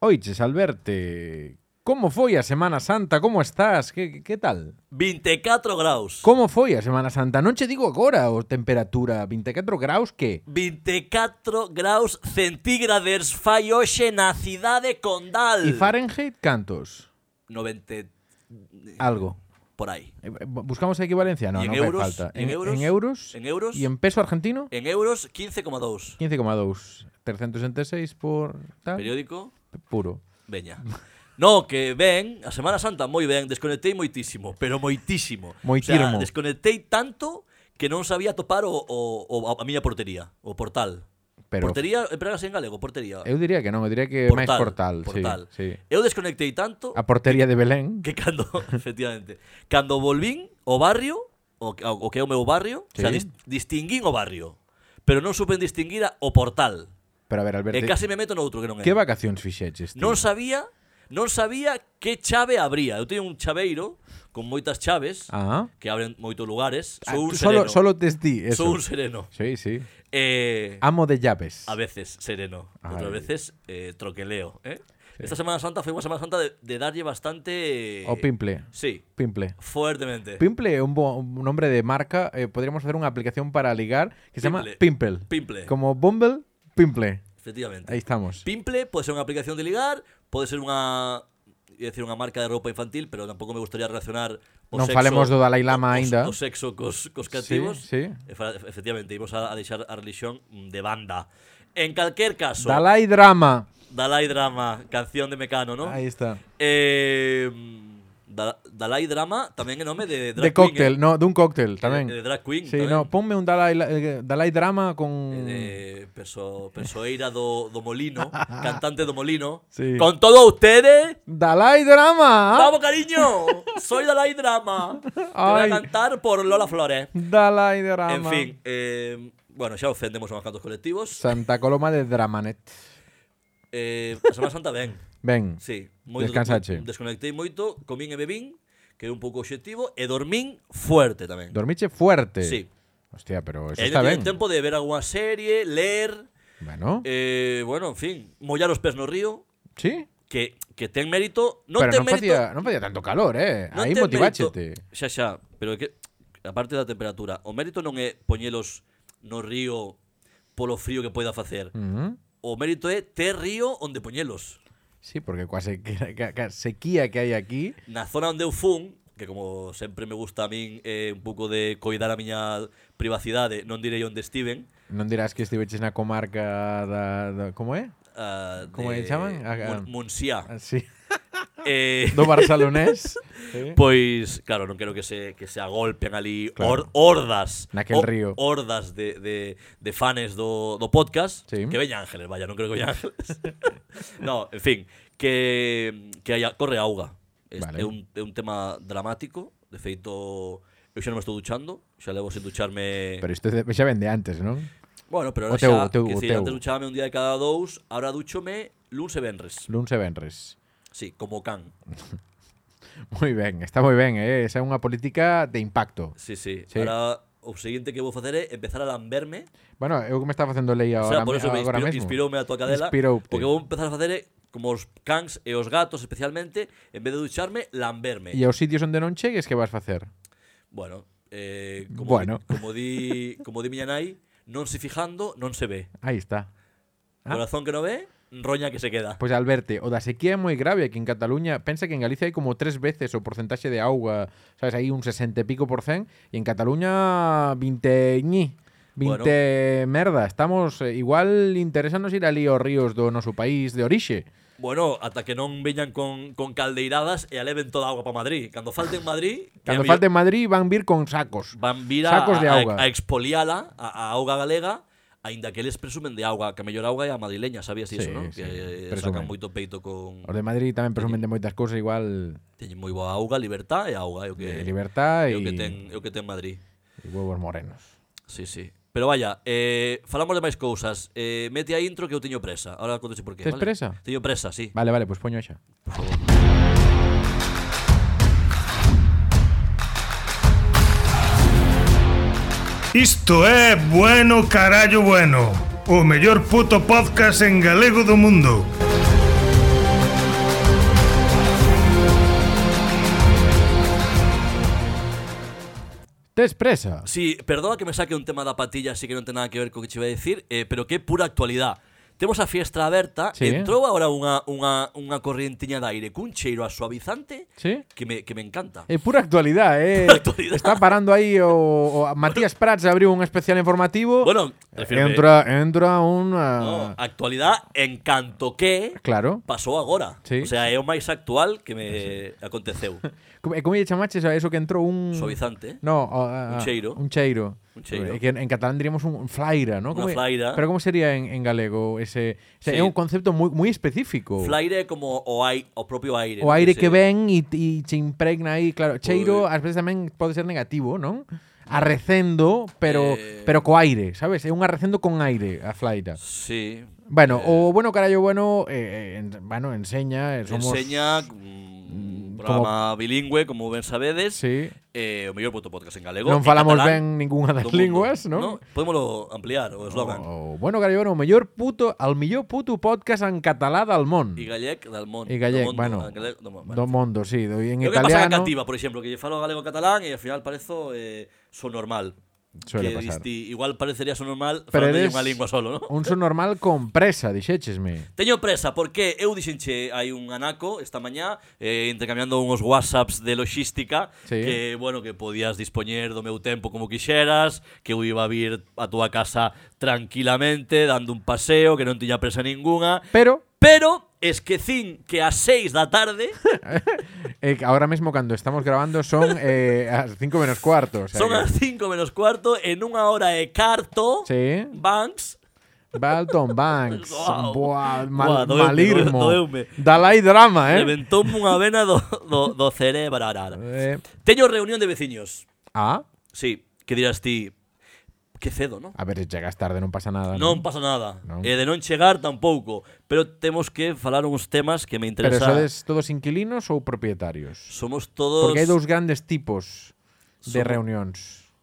Oiches, Alberte, como foi a Semana Santa? Como estás? Que, que tal? 24 graus. Como foi a Semana Santa? Non che digo agora o temperatura 24 graus que 24 graus centígrades fai hoxe na cidade Condal. E Fahrenheit cantos? 90 Algo. por aí. Eh, bu- Buscamos a equivalencia, no, E non en fai euros? falta. En euros? en euros? En euros? E en peso argentino? En euros 15,2. 15,2. 366 por tal Periódico, puro. veña. No, que ben, a Semana Santa moi ben, desconectei moitísimo, pero moitísimo. Moitirmo. O sea, desconectei tanto que non sabía topar o, o, o a miña portería, o portal. Pero- portería, empregase en galego, portería. Eu diría que non, eu diría que máis portal, sí, sí. Eu desconectei tanto A portería de Belén. que cando, efectivamente, cando volvín o barrio, o, que- o que é o meu barrio, sí. o sea, Sí. dis, distinguín o barrio, pero non supen distinguir a, o portal. Pero a ver, E Alberte, case me meto noutro que non é. que vacacións fixeches? tío? Non sabía, non sabía que chave abría. Eu teño un chaveiro con moitas chaves Ah. que abren moitos lugares. Ah, Sou un tú solo, sereno. solo tes ti eso. Sou un sereno. Sí, sí. Eh, Amo de llaves. A veces sereno, Ay. otras veces eh, troqueleo. ¿eh? Esta Semana Santa fue una Semana Santa de, de darle bastante. O pimple. Sí, Pimple. fuertemente. Pimple é un, bo- un nombre de marca. eh, podríamos hacer una aplicación para ligar que se llama Pimple. Pimple. Como Bumble, Pimple. Efectivamente. Ahí estamos. Pimple puede ser una aplicación de ligar, puede ser una. iba a decir una marca de ropa infantil, pero tampoco me gustaría relacionar. o Non sexo- falemos do Dalai Lama o- o- aínda. O sexo cos, cos cativos. sí. Efa- Efectivamente, íbamos a, a deixar a religión mm, de banda. En cualquier caso, Dalai Drama. Dalai Drama, canción de Mecano, ¿no? Ahí está. Eh, Da- Dalai Drama tamén é nome de drag ¿eh? de cóctel, no, de un cóctel también. de drag queen Sí, tamén. no, ponme un Dalai, eh, Dalai Drama con. Eh, de Mm. perso, Persoeira do, do Molino, cantante do Molino. Sí. Ah. Con todo ustedes, Dalai Drama. vamos cariño, soy Dalai Drama. Te voy Ay. a cantar por Lola Flores. Dalai Drama. En fin, eh, bueno, xa ofendemos a uns cantos colectivos. Santa Coloma de Dramanet. Eh, a Semana Santa ben. Ven. Sí, moi Descansache. moi- Desconectei moito, comín e bebín, que é un pouco o obxectivo, e dormín fuerte tamén. Dormiche fuerte. Sí. Hostia, pero eso He pues está tenido bien. tiempo de ver alguna serie, leer, Bueno. eh, bueno, en fin, mollar los pes no río, sí. que, que ten mérito, no pero ten non mérito, facía, non facía tanto calor, eh. non Aí ten motiváchete. mérito- Xa, xa, pero é que aparte da temperatura, o mérito non é poñelos no río polo frío que poida facer. Mhm. O mérito é ter río onde poñelos. Sí, porque coa sequía, ca- ca sequía que hai aquí, Na zona onde eu fun, que como sempre me gusta a min eh, un pouco de coidar a miña privacidade, non direi onde estiven, non dirás que estiveches na comarca da, da como é? ah, Como lle de chaman? A- a- Ah. Mun- Montsiá. Así. Eh, Ah, Do barcelonés. Pues- sí. Pois, claro, non quero que se que se agolpen ali Claro. hor- hordas Naquel río. Hordas de, de, de fans do, do podcast Sí. Que veña ángeles, vaya, non creo que veña ángeles No, en fin, que, que haya, corre auga Este Vale. é, un, é un tema dramático De feito, eu xa non me estou duchando Xa levo sin ducharme Pero isto de- xa vende antes, non? Bueno, O pero ahora teu- xa, o teu- o que decir, teu. antes duchábame un día de cada dous Ahora duchome luns e venres Luns e venres. Sí, como can Moi ben, está moi ben, eh. Esa é unha política de impacto. Sí, sí, Sí. Ahora, o seguinte que vou facer é empezar a lamberme Bueno, eu que me está facendo lei O agora, sea, por eso me- me agora inspirou, mesmo. inspiroume a tua cadela Inspiroute. Porque vou empezar a facer é, como os cans e os gatos especialmente En vez de ducharme, lamberme E aos sitios onde non chegues que vas facer? Bueno, eh, como, Bueno. Di, como di como di miña nai Non se fijando, non se ve Aí está. Ah. Corazón que non ve, roña que se queda Pois Alberto, o da sequía é moi grave aquí en Cataluña. Pensa que en Galicia hai como tres veces o porcentaxe de auga, sabes, aí un 60 e pico por cén, e en Cataluña 20 ñi. 20 bueno. merda, estamos eh, igual interesanos ir ali aos ríos do noso país de orixe. Bueno, ata que non veñan con, con caldeiradas E aleven toda a agua para Madrid Cando falte en Madrid que Cando a falte en Madrid van vir con sacos. van vir a, Sacos de a- auga. a expoliala a, a auga galega Ainda que eles presumen de auga Que a mellor auga é a madrileña, sabías Sí, iso, non? sí, que eh, presumen. sacan moito peito con, Os de Madrid tamén presumen de moitas cousas igual Teñen moi boa auga, libertad e auga, é o que de libertad é e, o que ten, é o que ten Madrid. e huevos morenos. Sí, sí. Pero vaya, eh, falamos de máis cousas. Eh, mete a intro que eu teño presa. Ahora contoche por qué, Tes vale? presa? Teño presa, sí. Vale, vale, pois poño xa. Isto é Bueno Carallo Bueno, o mellor puto podcast en galego do mundo. Tes presa. Sí, perdona que me saque un tema da patilla, así que non ten nada que ver co que che iba a decir, eh, pero que pura actualidade. Temos a fiestra aberta, Sí. sí. entrou agora unha, unha, unha correntiña de aire cun cheiro a suavizante Sí. que me, que me encanta. É pura actualidad, eh. Pura actualidade. Está parando aí o, o a Matías Prats abriu un especial informativo. Bueno, refírome- entra entra unha No, ah. actualidade en canto que Claro. pasou agora. Sí. O sea, é o máis actual que me aconteceu. Como, e como lle chamaches a eso que entrou un Mm. Suavizante. eh? No, a- a- Un cheiro. Un cheiro. Un cheiro. É Que en, en catalán diríamos un un flaira, ¿no? Una Como é- flaira. Pero como sería en, en galego ese, ese Sí. é un concepto moi moi específico. Flaire é como o, ai, o propio aire. o non? aire Ese- que ven e e che impregna aí, claro, cheiro ás veces tamén pode ser negativo, non? Arrecendo, pero Eh. pero co aire, sabes? É un arrecendo con aire a flaira. Sí. Bueno, o bueno carallo bueno, eh, eh, en- bueno, enseña, eh, somos Enseña mm, un programa bilingüe, como ben sabedes. Sí. Eh, o mellor puto podcast en galego. Non en falamos ben catalán ningunha das do mundo, linguas, non? Oh. ¿no? Podémoslo ampliar, o eslogan. O bueno, carallo, bueno, o mellor puto, al mellor puto podcast en catalá del món. Y gallec del món. E gallec, do mundo, bueno, gallec do món, Do mundo, sí, do, en Lo que pasa en italiano. Cativa, por ejemplo, que yo falo galego catalán y al final parezco eh, son normal. Suele Que pasar. disti- igual parecería son normal, Pero pero de eres una lengua solo, ¿no? un son normal con presa, dixéchesme. Teño presa, porque eu dixenche hai un anaco esta mañá eh, intercambiando uns whatsapps de logística Sí. que, bueno, que podías dispoñer do meu tempo como quixeras, que eu iba a vir a túa casa tranquilamente, dando un paseo, que non tiña presa ninguna, Pero pero esquecín que a 6 da tarde eh, ahora mismo cuando estamos grabando son eh, as 5 menos cuarto. o sea son que- as 5 menos cuarto en unha hora e carto Sí. Banks Balton Banks. Guau. Buah, Buah, mal- doeume, malirmo. doeume. Dalai drama, eh. reventoume unha vena do, do, do cerebro arara. Eh, Teño reunión de veciños ah, Sí, que dirás ti que cedo, non? a ver, se llegas tarde, non pasa nada. Non pasa nada. Non. E de non chegar tampouco, pero temos que falar uns temas que me Pero interesa. sodes todos inquilinos ou propietarios? Somos todos Porque hai dous grandes tipos de Somos- reunións.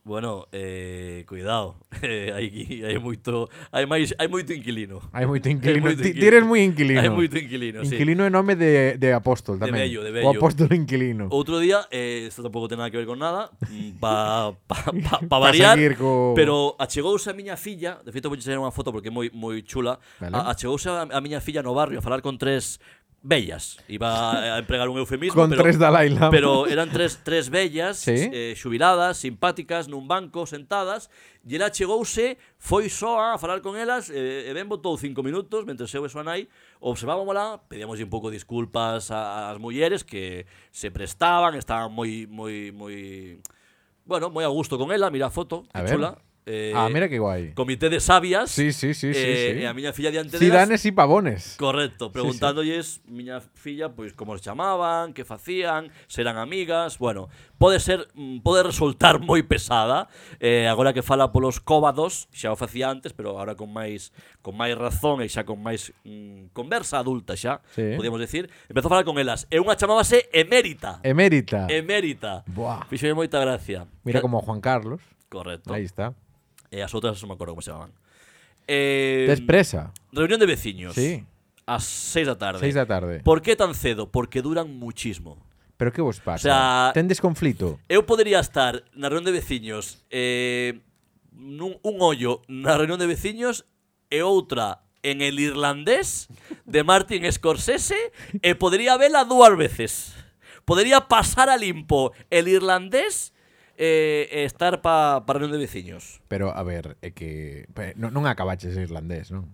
Bueno, eh, cuidado. Eh, hai hai moito hai máis hai moito inquilino. Hai moito Hai inquilino. moito Ti- ti eres moi inquilino. Hai moito inquilino, sí. Inquilino é nome de, de apóstol De tamén. vello, de O vello. apóstol inquilino. Outro día, eh, isto tampouco ten nada que ver con nada, para pa, pa, pa Pa variar, seguir co- pero achegouse a miña filla, de feito vou enseñar unha foto porque é moi moi chula, Vale. a, achegouse a, a miña filla no barrio a falar con tres bellas, iba a empregar un eufemismo, Con pero, tres Dalai Lama. pero eran tres tres bellas, Sí. eh, xubiladas, simpáticas, nun banco, sentadas, e ela achegouse, foi soa a falar con elas, eh, e ben botou cinco minutos, mentre eu e súa nai, observábamola, pedíamoslle un pouco disculpas a- ás mulleres que se prestaban, estaban moi, moi, moi... Bueno, moi a gusto con ela, mira a foto, A que ver. chula. Eh, ah, mira que guai. Comité de sabias. Sí, sí, sí, sí, eh, sí. E a miña filla diante delas. Cidanes e pavones. Correcto, preguntándolles miña filla pois como se chamaban, que facían, serán amigas, bueno, pode ser mm, pode resultar moi pesada. Eh, agora que fala polos cóbados, xa o facía antes, pero agora con máis con máis razón e xa con máis mm, conversa adulta xa, Sí. podíamos decir, empezou a falar con elas. E unha chamábase Emérita. Emérita. Em- Emérita. Buah. Fíxome moita gracia. Mira como Juan Carlos. Correcto. Aí está. E as outras non me acordo como se chamaban. Eh, Tes presa. Reunión de veciños. Sí. Ás 6 da tarde. Seis da tarde. Por que tan cedo? Porque duran muchismo. Pero que vos pasa? O sea- Tendes conflito. Eu podería estar na reunión de veciños eh, nun, un ollo na reunión de veciños e outra en el irlandés de Martin Scorsese e podería vela dúas veces. Podería pasar a limpo el irlandés eh, e estar pa, pa reunión de veciños. Pero, a ver, é que... pe- Non, non acabaches irlandés, non?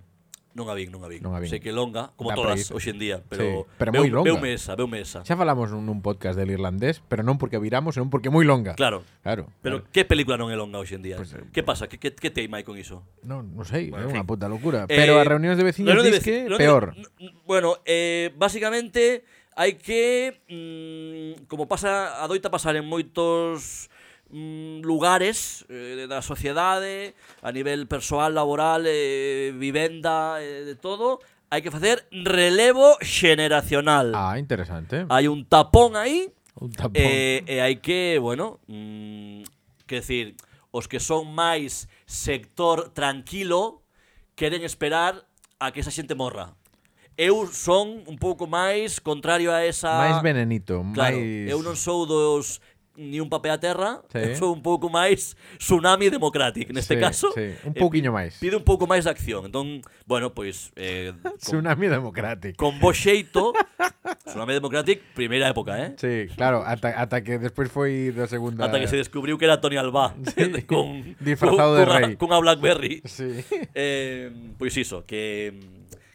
Non a vin, non a vin. Non a vin. Sei que é longa, como Dá todas preguiza. hoxe en día, Sí, pero, pero veu- moi longa. Veume esa, veume esa. Xa falamos nun, nun podcast del irlandés, pero non porque viramos, senón porque é moi longa. Claro. Claro. Pero claro. que película non é longa hoxe en día? Pois, eh, que pasa? Que, que, que teima hai con iso? Non, non sei, é Bueno, en unha fin. puta locura. Eh, Pero as reunións de veciños reunión de dis veci- que reunión de- peor. n- n- Bueno, eh, basicamente hai que mm, como pasa adoita pasar en moitos mm, lugares eh, da sociedade, a nivel persoal, laboral, eh, vivenda, eh, de todo, hai que facer relevo xeneracional. Ah, interesante. Hai un tapón aí Un tapón. E, Eh, e hai que, bueno, mm, que decir, os que son máis sector tranquilo queren esperar a que esa xente morra. Eu son un pouco máis contrario a esa... máis venenito, ah, Claro, máis eu non sou dos ni un papel a terra, Sí. eso é un pouco máis tsunami democrático Sí, neste este caso. eh, sí, un pouquiño máis. Pide un pouco máis de acción. Entón, bueno, pois eh, con, Tsunami democrático. con bo xeito, tsunami democrático, primeira época, eh? Sí, claro, ata, ata que despois foi da segunda. Ata que se descubriu que era Tony Alba Sí. con, Disfrazado con, de cunha- rei. cunha Blackberry Sí. eh, pois iso, que,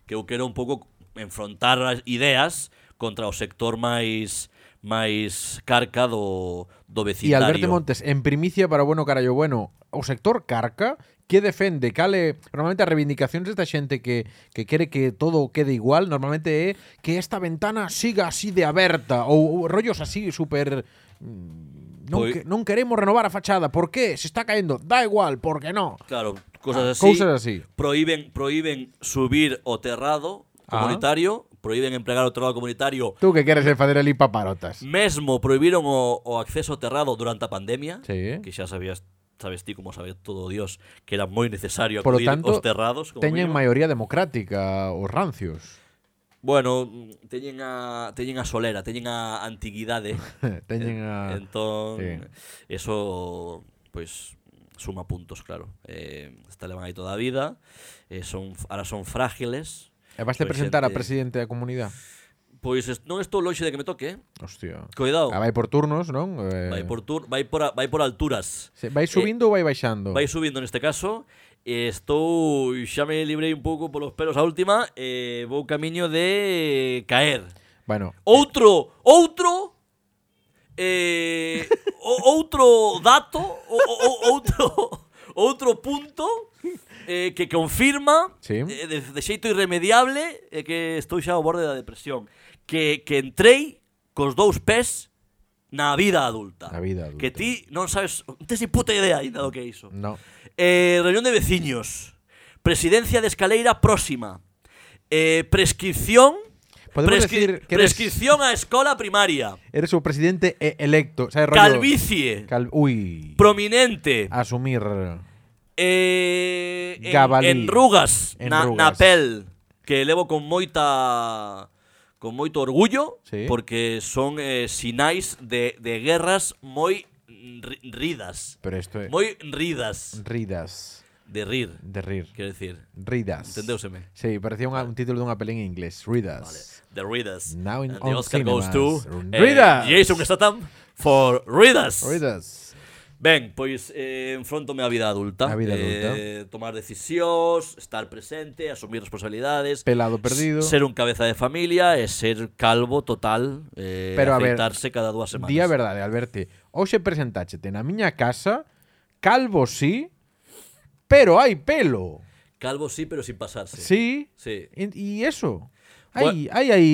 que eu quero un pouco enfrontar as ideas contra o sector máis máis carca do, do E vecindario. Alberto Montes, en primicia para o Bueno Carallo Bueno, o sector carca que defende, cale normalmente as reivindicacións desta xente que, que quere que todo quede igual, normalmente é que esta ventana siga así de aberta ou, ou rollos así super mm, non, Pois- que, non queremos renovar a fachada, por que? Se está caendo, da igual, por que non? Claro, cosas así. Cousas Ah, así. Prohíben, prohíben subir o terrado Ah. comunitario, prohíben empregar o terrado comunitario. Tú que queres é facer ali paparotas. Mesmo prohibiron o, o acceso ao terrado durante a pandemia, Sí. que xa sabías sabes ti como sabía todo Dios que era moi necesario Por lo acudir tanto, aos terrados como Teñen mínimo. maioría democrática os rancios. Bueno, mm, teñen a teñen a solera, teñen a antiguidade. teñen a entón sí. eso pois suma puntos, claro. Eh, está levan aí toda a vida, eh, son ahora son frágiles. E eh, vas te Pois presentar a xente- presidente da comunidade. Pois est non estou lonxe de que me toque, eh. Hostia. Cuidado. Ah, vai por turnos, non? Eh, Oh. Vai por tur, vai por a- vai por alturas. se- vai subindo ou vai baixando? Vai subindo neste caso. E Estou xa me librei un pouco polos pelos a última, eh, vou camiño de caer. Bueno, Outro, outro eh, o- outro dato, o, o- o- outro outro punto eh, que confirma Sí. eh, de, de xeito irremediable eh, que estou xa ao borde da depresión, que que entrei cos dous pés na vida adulta. Na vida adulta. Que ti non sabes, non tes ni puta idea ainda do que é iso. no. Eh, reunión de veciños. Presidencia de Escaleira próxima. Eh, prescripción. Podemos prescri- decir que eres- prescripción a escola primaria. Eres o presidente e electo. O sea, rollo, Calvicie. Cal- Ah. Ui. Prominente. Asumir. Eh, en, Gabalí. en rugas. En na, rugas. na pel. Que levo con moita con moito orgullo Sí. porque son eh, sinais de, de guerras moi ri- ridas. Pero isto é... Moi ridas Ridas. de rir, De rir. quero decir. Ridas. Entendeuseme. Sí, parecía unha- un título dunha pelín en inglés. Ridas. Vale. The Readers. Now in And on the Oscar goes cinemas. to Readers. eh, Jason Statham for Readers. Ridas. Ben, pois eh, enfrontome á vida adulta. A vida Eh, tomar decisións, estar presente, asumir responsabilidades. Pelado perdido. s- Ser un cabeza de familia e ser calvo total. Eh, Pero, a ver, afeitarse cada dúas semanas. Día verdade, Alberti. Hoxe presentáchete na miña casa, calvo sí, pero hai pelo. Calvo sí, pero sin pasarse. Sí. Sí. E e eso. Bueno. Hai, hai, hai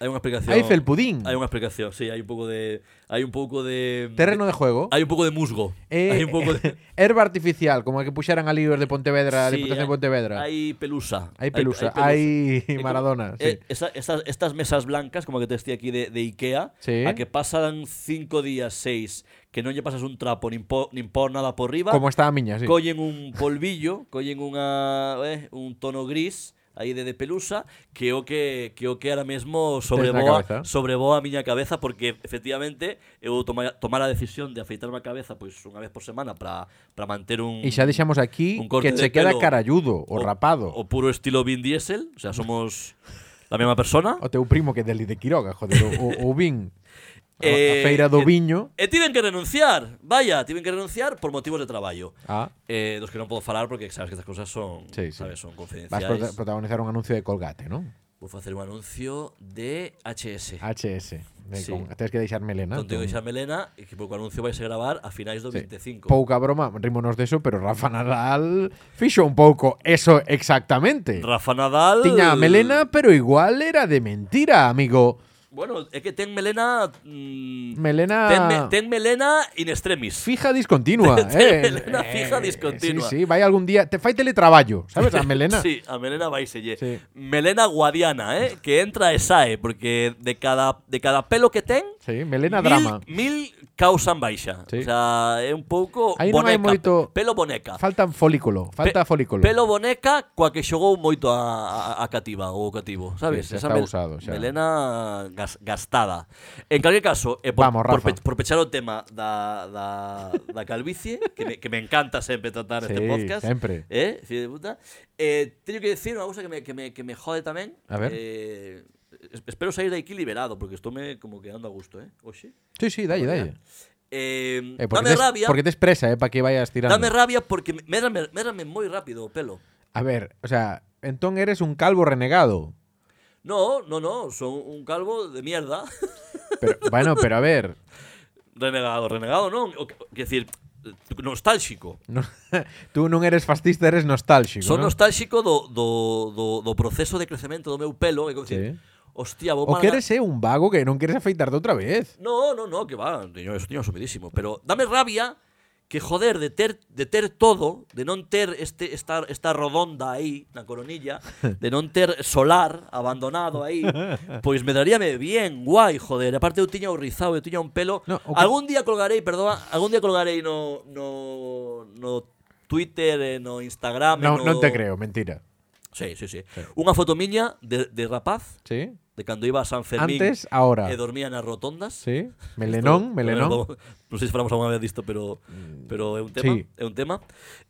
Hai unha explicación. Hai felpudín. Hai unha explicación, sí, hai un pouco de hai un pouco de terreno de juego. Hai un pouco de musgo. Eh, hai un pouco de Herba artificial, como a que puxeran ali os de Pontevedra, a Sí, Diputación hai- de Pontevedra. Hai, Hai pelusa. pelusa, pelusa. hai, É como- Maradona. eh, Sí. esa- estas, estas mesas blancas, como que te estoy aquí de, de Ikea, Sí. a que pasan cinco días, seis, que non lle pasas un trapo, nin po, nin po nada por riba, como está a miña, sí. collen un polvillo, collen unha, eh, un tono gris, aí de, de pelusa, que o que, que o que ahora mesmo cabeza. sobreboa, sobreboa a miña cabeza, porque efectivamente eu toma, tomar a decisión de afeitarme a cabeza pois unha vez por semana para manter un... E xa deixamos aquí un corte que che de queda pelo caralludo, o, rapado. O, O puro estilo Vin Diesel, o sea, somos la mesma persona. teu primo que é deli de Quiroga, joder, o, o, o Vin. A- a Eh, feira do eh, viño. E tiven que renunciar, vaya, tiven que renunciar por motivos de traballo. Ah, Eh, dos que non podo falar porque sabes que estas cousas son, Sí, sí. sabes, son vas confidenciais. prota- protagonizar un anuncio de Colgate, non? Vou facer un anuncio de HS. Ah, HS. De, Sí. con, tens que deixar melena. Entón tengo entón. que xa melena e que pouco anuncio vais a gravar a finais do Sí. 25. Pouca broma, rímonos deso, pero Rafa Nadal fixo un pouco eso exactamente. Rafa Nadal... Tiña a melena, pero igual era de mentira, amigo. Bueno, é que ten melena... mm, Melena- Ten, me- ten melena in extremis. Fija discontinua, eh. melena fija discontinua. Sí, sí, vai algún día, te fai teletraballo, sabes, a melena. Sí, a melena vaiselle. Sí. Melena guadiana, eh, que entra e sae porque de cada de cada pelo que ten Sí, melena mil, drama. Mil causan baixa. Sí. O sea, é un pouco Aí non hai boneca, moito- pelo boneca. Faltan folículo, falta Pe- folículo. Pelo boneca coa que xogou moito a, a, a cativa ou o cativo, sabes? Sí, xa está mel- usado, xa. Melena gas- gastada. En calquer caso, eh, por, Vamos, por Rafa. pe- por pechar o tema da, da, da calvicie, que me, que me encanta sempre tratar este Sí, podcast. sempre. Eh, fillo de puta. Eh, teño que decir unha cousa que me, que me, que me jode tamén. A ver. Eh, es- espero sair de aquí liberado, porque estou me como quedando a gusto, eh? Oxe. Sí, sí, dalle, dalle. Eh, Eh, porque, dame tes, rabia. porque tes presa, eh, para que vayas tirando. Dame rabia porque me- médrame, médrame moi rápido o pelo. A ver, o sea, entón eres un calvo renegado. No, no, no, son un calvo de mierda. Pero, bueno, pero a ver. renegado, renegado, non? O, que- o, que decir, nostálxico. no- tú non eres fascista, eres nostálxico. Son ¿no? nostálxico do, do, do, do proceso de crecemento do meu pelo. É como dicir, Sí. hostia, vou O que malga- eres eh, un vago que non quieres afeitarte outra vez. No, no, no, que va, teño, eso teño asumidísimo. Pero dame rabia que joder de ter, de ter todo, de non ter este, esta, esta rodonda aí na coronilla, de non ter solar abandonado aí, pois me daríame bien, guai, joder. Aparte eu tiña o rizado, eu tiña un pelo. No, o que- algún día colgarei, perdona, algún día colgarei no no no Twitter, eh, no Instagram, eh, No, no non te creo, mentira. Sí, sí, sí. Unha foto miña de, de rapaz, Sí, de cando iba a San Fermín Antes, ahora. e dormía nas rotondas. sí. Melenón, Isto, melenón. Non, sei se falamos alguna vez disto, pero pero é un Mm, tema, sí. é un tema.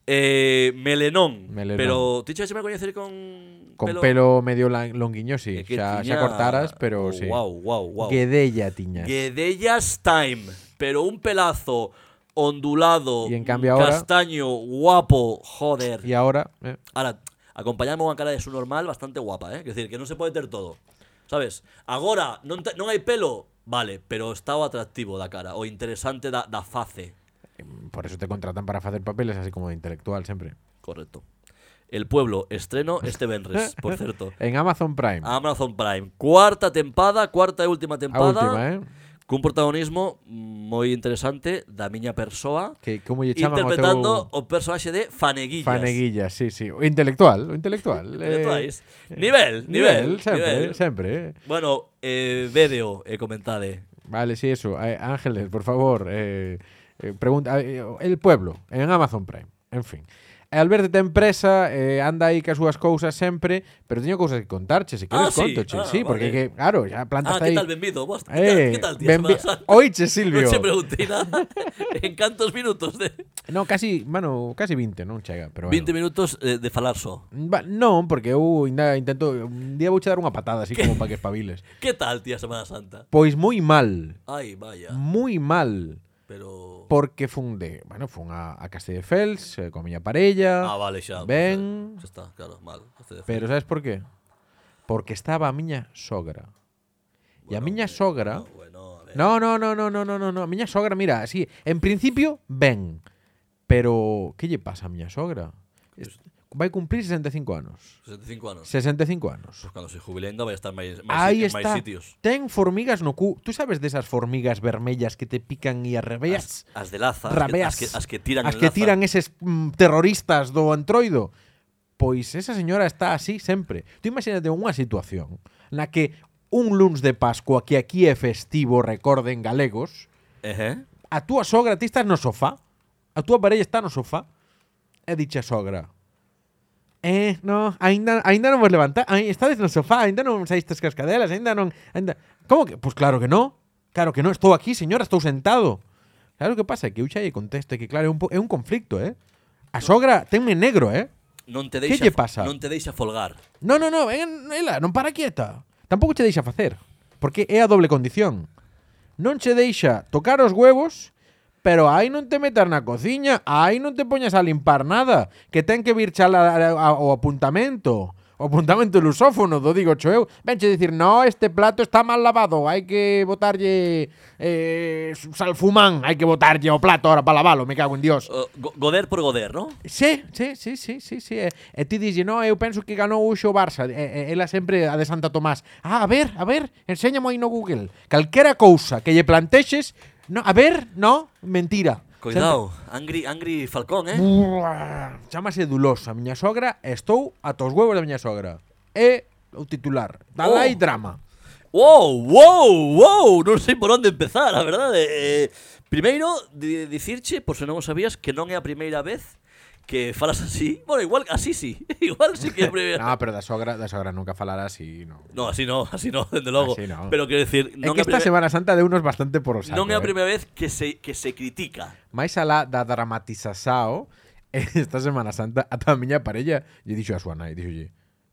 Eh, melenón, Melenón. pero ti che me coñecer con Con pelo, medio lan- longuiño, sí. é que xa, xa tiña- Oh, cortaras, pero sí. Guau, guau, guau. Guedella tiñas. Guedellas time, pero un pelazo ondulado, Y en cambio ahora- castaño, guapo, joder. Y ahora... eh, Ahora, acompañamos unha cara de su normal bastante guapa, eh? Quer decir, que non se pode ter todo. Sabes? Agora, non, te- non hai pelo, vale, pero está o atractivo da cara, o interesante da, da face. por eso te contratan para hacer papeles así como de intelectual siempre. Correcto. El Pueblo, estreno este venres, por certo. En Amazon Prime. Amazon Prime, cuarta tempada, cuarta e última a Ah, tempada. última, eh? Cun protagonismo moi interesante da miña persoa Que como lle chaman interpretando o teu o personaxe de Faneguillas. faneguilla, sí, sí. O intelectual, o intelectual. eh, Intelectuais. Nivel, nivel, sempre, nivel. sempre, eh. Bueno, eh, vedeo e comentade. Vale, sí, eso. Eh, Ángeles, por favor, eh, eh, pregunta. eh, el pueblo, en Amazon Prime. En fin. E Alberto te empresa, eh, anda aí que as súas cousas sempre, pero teño cousas que contarche, se queres Ah, sí, contoche, ah, sí, porque vale. que, claro, ya Ah, plantas ¿qué aí. tal, bienvenido? Vos, ¿Qué Eh, tal, ¿Qué tal, tía? benvi- Semana Santa. Oiche, Silvio. Non se pregunté nada. en cantos minutos de... No, casi, mano, casi 20, non chega, pero bueno. 20 minutos eh, de falar só. Va, non, porque eu ainda intento un día vouche dar unha patada así como para que espabiles. ¿Qué tal, tía Semana Santa? Pois moi mal, Ay, vaya. moi mal, Pero... porque fun de, bueno, fun a, a Castelldefels eh, coa miña parella. Ah, vale, xa. Ben. Xa está, claro, mal. Pero sabes por qué? Porque estaba a miña sogra. e a miña eh, sogra, Bueno, a ver. No, no, no, no, no, no, no, no. A miña sogra, mira, así, en principio, ben. Pero, que lle pasa a miña sogra? Es- Vai cumplir 65 anos. 65 anos. 65 anos. Pues cuando se jubile ainda vai estar máis, máis, Aí en máis está. sitios. Ten formigas no cu. Tú sabes desas formigas vermellas que te pican e arrebeas? As, as de laza, as que, rabeas. as, que, as que tiran As en que laza. tiran eses mm, terroristas do antroido. Pois esa señora está así sempre. Tú imagínate unha situación na que un luns de Pascua que aquí é festivo, recorden galegos, Ejé. a túa sogra ti estás no sofá, a túa parella está no sofá, e dicha sogra. Eh, no, ainda, ainda non vos levantá, ai- estades no sofá, ainda non saístes cascadelas, ainda non... Ainda... Como que? Pois claro que non, claro que non, estou aquí, señora, estou sentado. Claro que pasa, que eu xa lle conteste que claro, é un, po- é un conflicto, eh? A sogra tenme negro, eh? Non te Que deixa, lle pasa? Non te deixa folgar. No, no, no, eh, ela, non para quieta. Tampouco che deixa facer, porque é a doble condición. Non che deixa tocar os huevos, pero aí non te metas na cociña, aí non te poñas a limpar nada, que ten que vir chala a- a- ao apuntamento. O apuntamento lusófono, do digo cho eu. Venche dicir, no, este plato está mal lavado, hai que botarlle eh, salfumán, hai que botarlle o plato ahora para lavalo, me cago en dios. Uh, go- goder por goder, ¿no? Sí, sí, sí, sí, sí, sí. E, e ti dixi, no, eu penso que ganou hoxe o Barça. E, e, ela sempre a de Santa Tomás. Ah, a ver, a ver, enséñame aí no Google. Calquera cousa que lle plantexes, no, a ver, no, mentira. Cuidado, Angry, Angry Falcón, eh? Buah, Chámase Dulosa, a miña sogra, e estou atos huevos da miña sogra. É o titular. Oh. Dala aí drama. Wow, wow, wow, non sei por onde empezar, eh, a verdade. Eh, primeiro, di- dicirche, por se non o sabías, que non é a primeira vez que falas así. Bueno, igual así sí. igual sí que... No, pero da sogra, da sogra nunca falará así, no. No, así no, así no, desde luego. Así no. Pero quiero decir, é non que é a esta primeira- Semana Santa de unos bastante por o saco, non é a eh. primeira vez que se, que se critica. Mais alá da dramatización esta Semana Santa ata a miña parella lle dixo a súa nai, dixolle,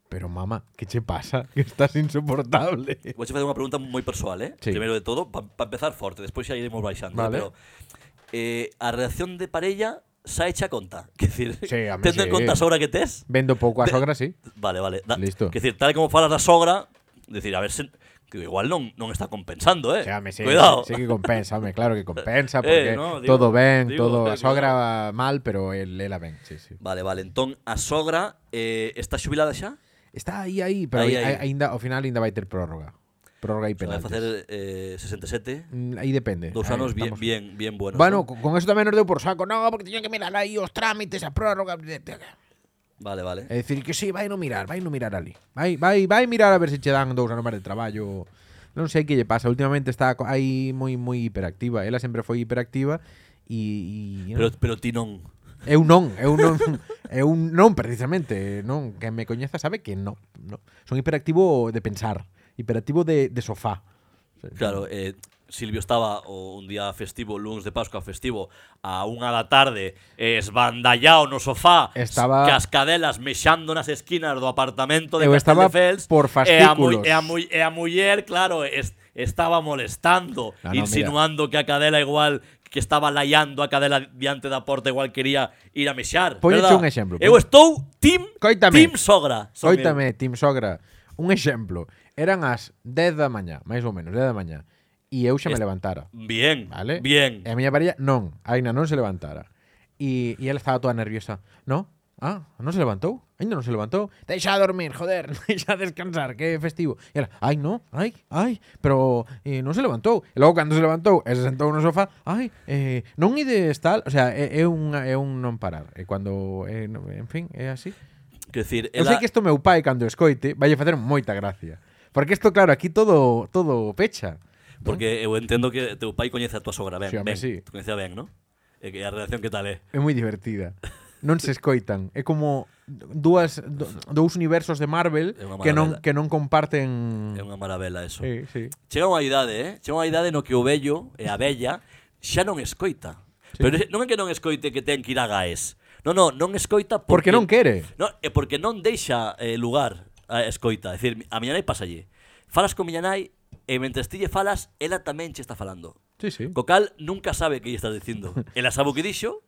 pero mamá, que che pasa? Que estás insoportable. Vou facer unha pregunta moi persoal, eh? Sí. Primeiro de todo, para pa empezar forte, despois xa iremos baixando, Vale. eh? pero eh, a reacción de parella xa hecha conta. Que decir, Sí, a mí tendo sí. en conta a sobra que tes, Vendo pouco a Te- sogra, sí. Vale, vale. Da- Listo. Que decir, tal como falas da sogra, decir, a ver se que igual non, non está compensando, eh. Sí, home, sí, Cuidado. sí que compensa, home, claro que compensa, Eh, porque no, digo- todo ben, digo, todo eh, a sogra mal, pero el, ela ben, sí, sí. Vale, vale. Entón a sogra eh, está xubilada xa? Está aí, aí, pero Aí, aí, aí. Ainda, ao final ainda vai ter prórroga. Prórroga e Vai penaltis. facer eh, 67, Mm, Aí depende. dos Aí anos bien, estamos- bien, bien buenos. Bueno, ¿no? con, con eso tamén nos deu por saco. No, porque tiñan que mirar aí os trámites, a prórroga. É Vale, vale. dicir, que sí, vai no mirar, vai no mirar ali. Vai, vai, vai mirar a ver se che dan dous anos máis de traballo. Non sei que lle pasa. Últimamente está co- aí moi moi hiperactiva. Ela sempre foi hiperactiva e, e Pero pero ti non. eu non, eu non, eu non precisamente, non, que me coñeza sabe que non, non. Son hiperactivo de pensar, hiperactivo de, de sofá. Claro, eh, Silvio estaba o un día festivo, lunes de Pascua festivo, a unha da tarde, eh, esbandallado no sofá, Estaba- cascadelas mexando nas esquinas do apartamento de Eu estaba Castelldefels. por e a, mu- fascículos. e, a mu- e a muller, claro, es- estaba molestando, Ah, no, insinuando que a cadela igual que estaba laiando a cadela diante da porta igual quería ir a mexar. Póñeche verdad? un exemplo, Eu poñe- estou team, Coítame. team sogra. son eu. Coítame, Tim Sogra, un exemplo. Eran as 10 da mañá, máis ou menos, 10 da mañá. E eu xa me Es- levantara, Bien, vale? bien. E a miña parella non, aínda non se levantara. E, e ela estaba toda nerviosa. No? Ah, non se levantou? Ainda non se levantou? Deixa a dormir, joder, deixa a descansar, que é festivo. E ela, ai, no, ai, ai, pero eh, non se levantou. E logo, cando se levantou e se sentou no sofá, ai, eh, non ides tal... O sea, é, é, un, é un non parar. E cando, é, no- en fin, é así. Quer decir, Eu ela- sei que isto meu pai cando o escoite vai facer moita gracia. Porque isto claro, aquí todo todo pecha. Porque eu entendo que teu pai coñece a tua sogra ben, Sí, home, ben. sí. Te coñece ben, non? E que a relación que tal é? É moi divertida. Non se escoitan, é como dúas do- dous universos de Marvel É unha que non maravela. que non comparten É unha maravela eso. Sí, sí. Chega unha idade, eh? Chega unha idade no que o vello e a bella xa non escoita. Pero non é que non escoite que ten que ir a gaes. Non, non, non escoita Porque porque, non quere. No, é porque non deixa eh, lugar a escoita. É dicir, a miña nai pasalle. Falas con miña nai e mentres ti lle falas, ela tamén che está falando. Sí, sí. Cocal nunca sabe que lle estás dicindo. Ela sabe o que dixo,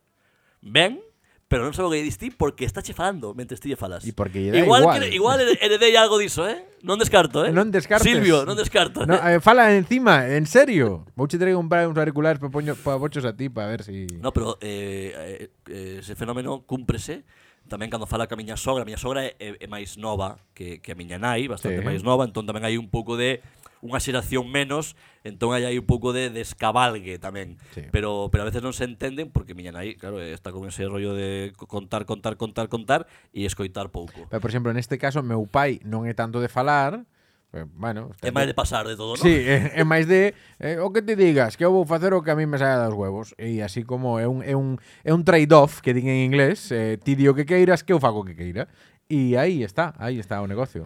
ben, pero non sabe o que lle diste porque está che falando mentre ti lle falas. E porque lle dá igual. igual. Que, igual here- heredei algo diso, eh? Non descarto, eh? Non descartes. Silvio, non descarto. No, eh? eh, fala encima, en serio. Vouche ter que comprar uns auriculares para poño para bochos a ti para ver si No, pero eh, eh, ese fenómeno cúmprese tamén cando fala ca miña sogra. A miña sogra é, é, é máis nova que, que a miña nai, Sí. bastante máis nova, entón tamén hai un pouco de unha xeración menos, entón hai aí un pouco de descabalgue tamén. Sí. Pero pero a veces non se entenden porque miña nai, claro, eh, está con ese rollo de co- contar, contar, contar, contar e escoitar pouco. Pero, por exemplo, neste caso meu pai non é tanto de falar, eh, bueno, É máis de pasar de todo, non? Sí, é, é máis de eh, o que te digas, que eu vou facer o que a mí me saia dos huevos. E así como é un, é un, é un trade-off que din en inglés, eh, ti di o que queiras, que eu fago o que queira. E aí está, aí está o negocio.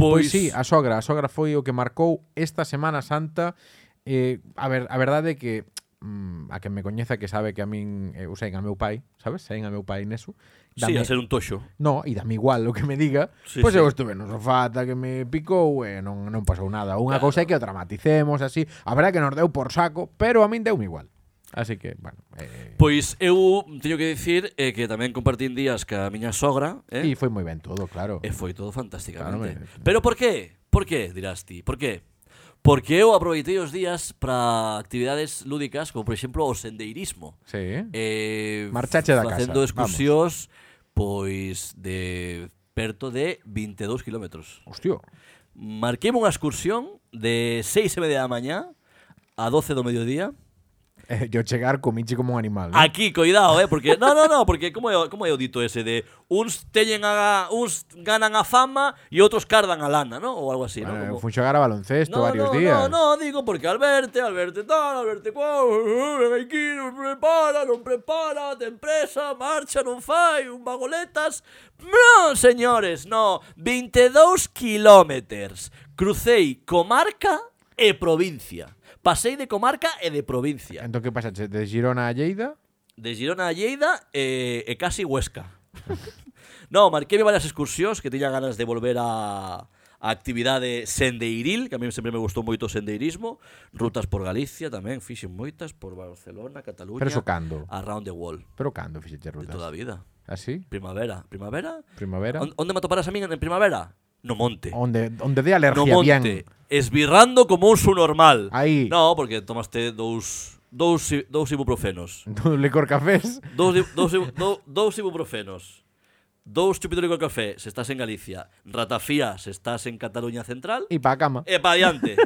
Pois- sí, a sogra, a sogra foi o que marcou esta Semana Santa. Eh, a ver, a verdade é que mm, a que me coñeza que sabe que a min eh, usen a meu pai, sabes? Saen a meu pai neso. Sí, Dame- a ser un toxo. No, e dame igual o que me diga. Sí, pois sí. eu estuve no sofá ata que me picou e non, non pasou nada. Unha cousa é que o dramaticemos así. A verdade que nos deu por saco, pero a min deu igual. Así que, bueno. Eh, Pois eu teño que dicir eh, que tamén compartín días ca miña sogra, eh? E foi moi ben todo, claro. E foi todo fantásticamente. Claro, me- Pero por qué? Por qué, dirás ti? Por qué? Porque eu aproveitei os días para actividades lúdicas, como por exemplo o sendeirismo. Sí. Eh, Marchache da casa, Facendo excursións, pois, de perto de 22 kilómetros. Hostio. Marquei unha excursión de 6 e media da mañá a 12 do mediodía Eh, yo chegar comiche como un animal. ¿no? Aquí, cuidado, eh, porque no, no, no, porque como é, como é o dito ese de uns teñen a uns ganan a fama e outros cardan a lana, ¿no? Ou algo así, Bueno, ¿no? Como- fun xogar Eh, a baloncesto no, varios no, días. No, no, digo porque Alberte, Alberte tal, Alberte cual, ven aquí, non prepara, non prepara, te empresa, marcha, non fai, un bagoletas. Non, señores, no, 22 kilómetros. Crucei comarca e provincia. Pasei de comarca e de provincia. Entón, que pasa? Che- De Girona a Lleida? De Girona a Lleida eh, e, e casi Huesca. no, marquéme varias excursións que tiña ganas de volver a a actividade sendeiril, que a mí sempre me gustou moito o sendeirismo, rutas por Galicia tamén, fixen moitas, por Barcelona, Cataluña, Pero eso cando? around the world, Pero cando fixeche de rutas? toda a vida. Así? Primavera, primavera? Primavera? On- Onde me atoparás a min en primavera? No monte. Onde, onde dé no alergia monte, bien. esbirrando como un su normal. Aí. No, porque tomaste dous dous i- dous ibuprofenos. Do licor cafés. Dous, di- dous, ibu- dou- dous ibuprofenos. Dous chupitos de café se estás en Galicia. Ratafía se estás en Cataluña Central. E pa a cama. E pa adiante.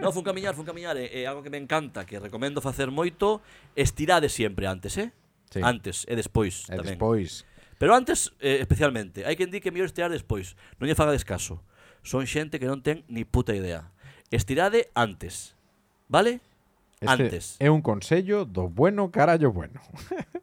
no, fun camiñar, fun camiñar. É, é algo que me encanta, que recomendo facer moito. Estirade sempre antes, eh? Sí. Antes e despois E tamén. despois. Pero antes, eh, especialmente, hai quen di que é mellor estirar despois. Non lle faga descaso. Son xente que non ten ni puta idea. Estirade antes. Vale? antes. Este É un consello do bueno carallo bueno.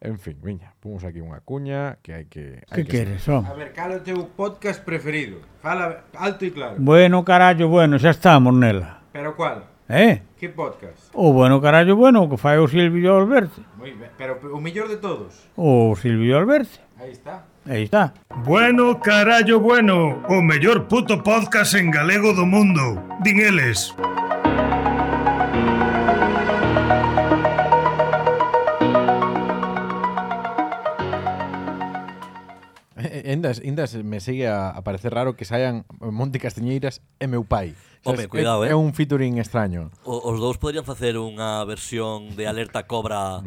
en fin, viña, pomos aquí unha cuña que hai que... hai ¿Qué que queres, home? A ver, cal é o teu podcast preferido? Fala alto e claro. Bueno, carallo, bueno, xa estamos nela. Pero cual? Eh? Que podcast? O bueno, carallo, bueno, o que fai o Silvio Alberti. Moi ben, pero o mellor de todos. O Silvio Alberti. Aí está. Aí está. Bueno, carallo, bueno, o mellor puto podcast en galego do mundo. Din eles. Eh, eh, Indas, indas me sigue a, a parecer raro que saian Monte Castiñeiras e meu pai. Home, Sabes, cuidado, é, eh. É un featuring extraño. O- os dous poderían facer unha versión de Alerta Cobra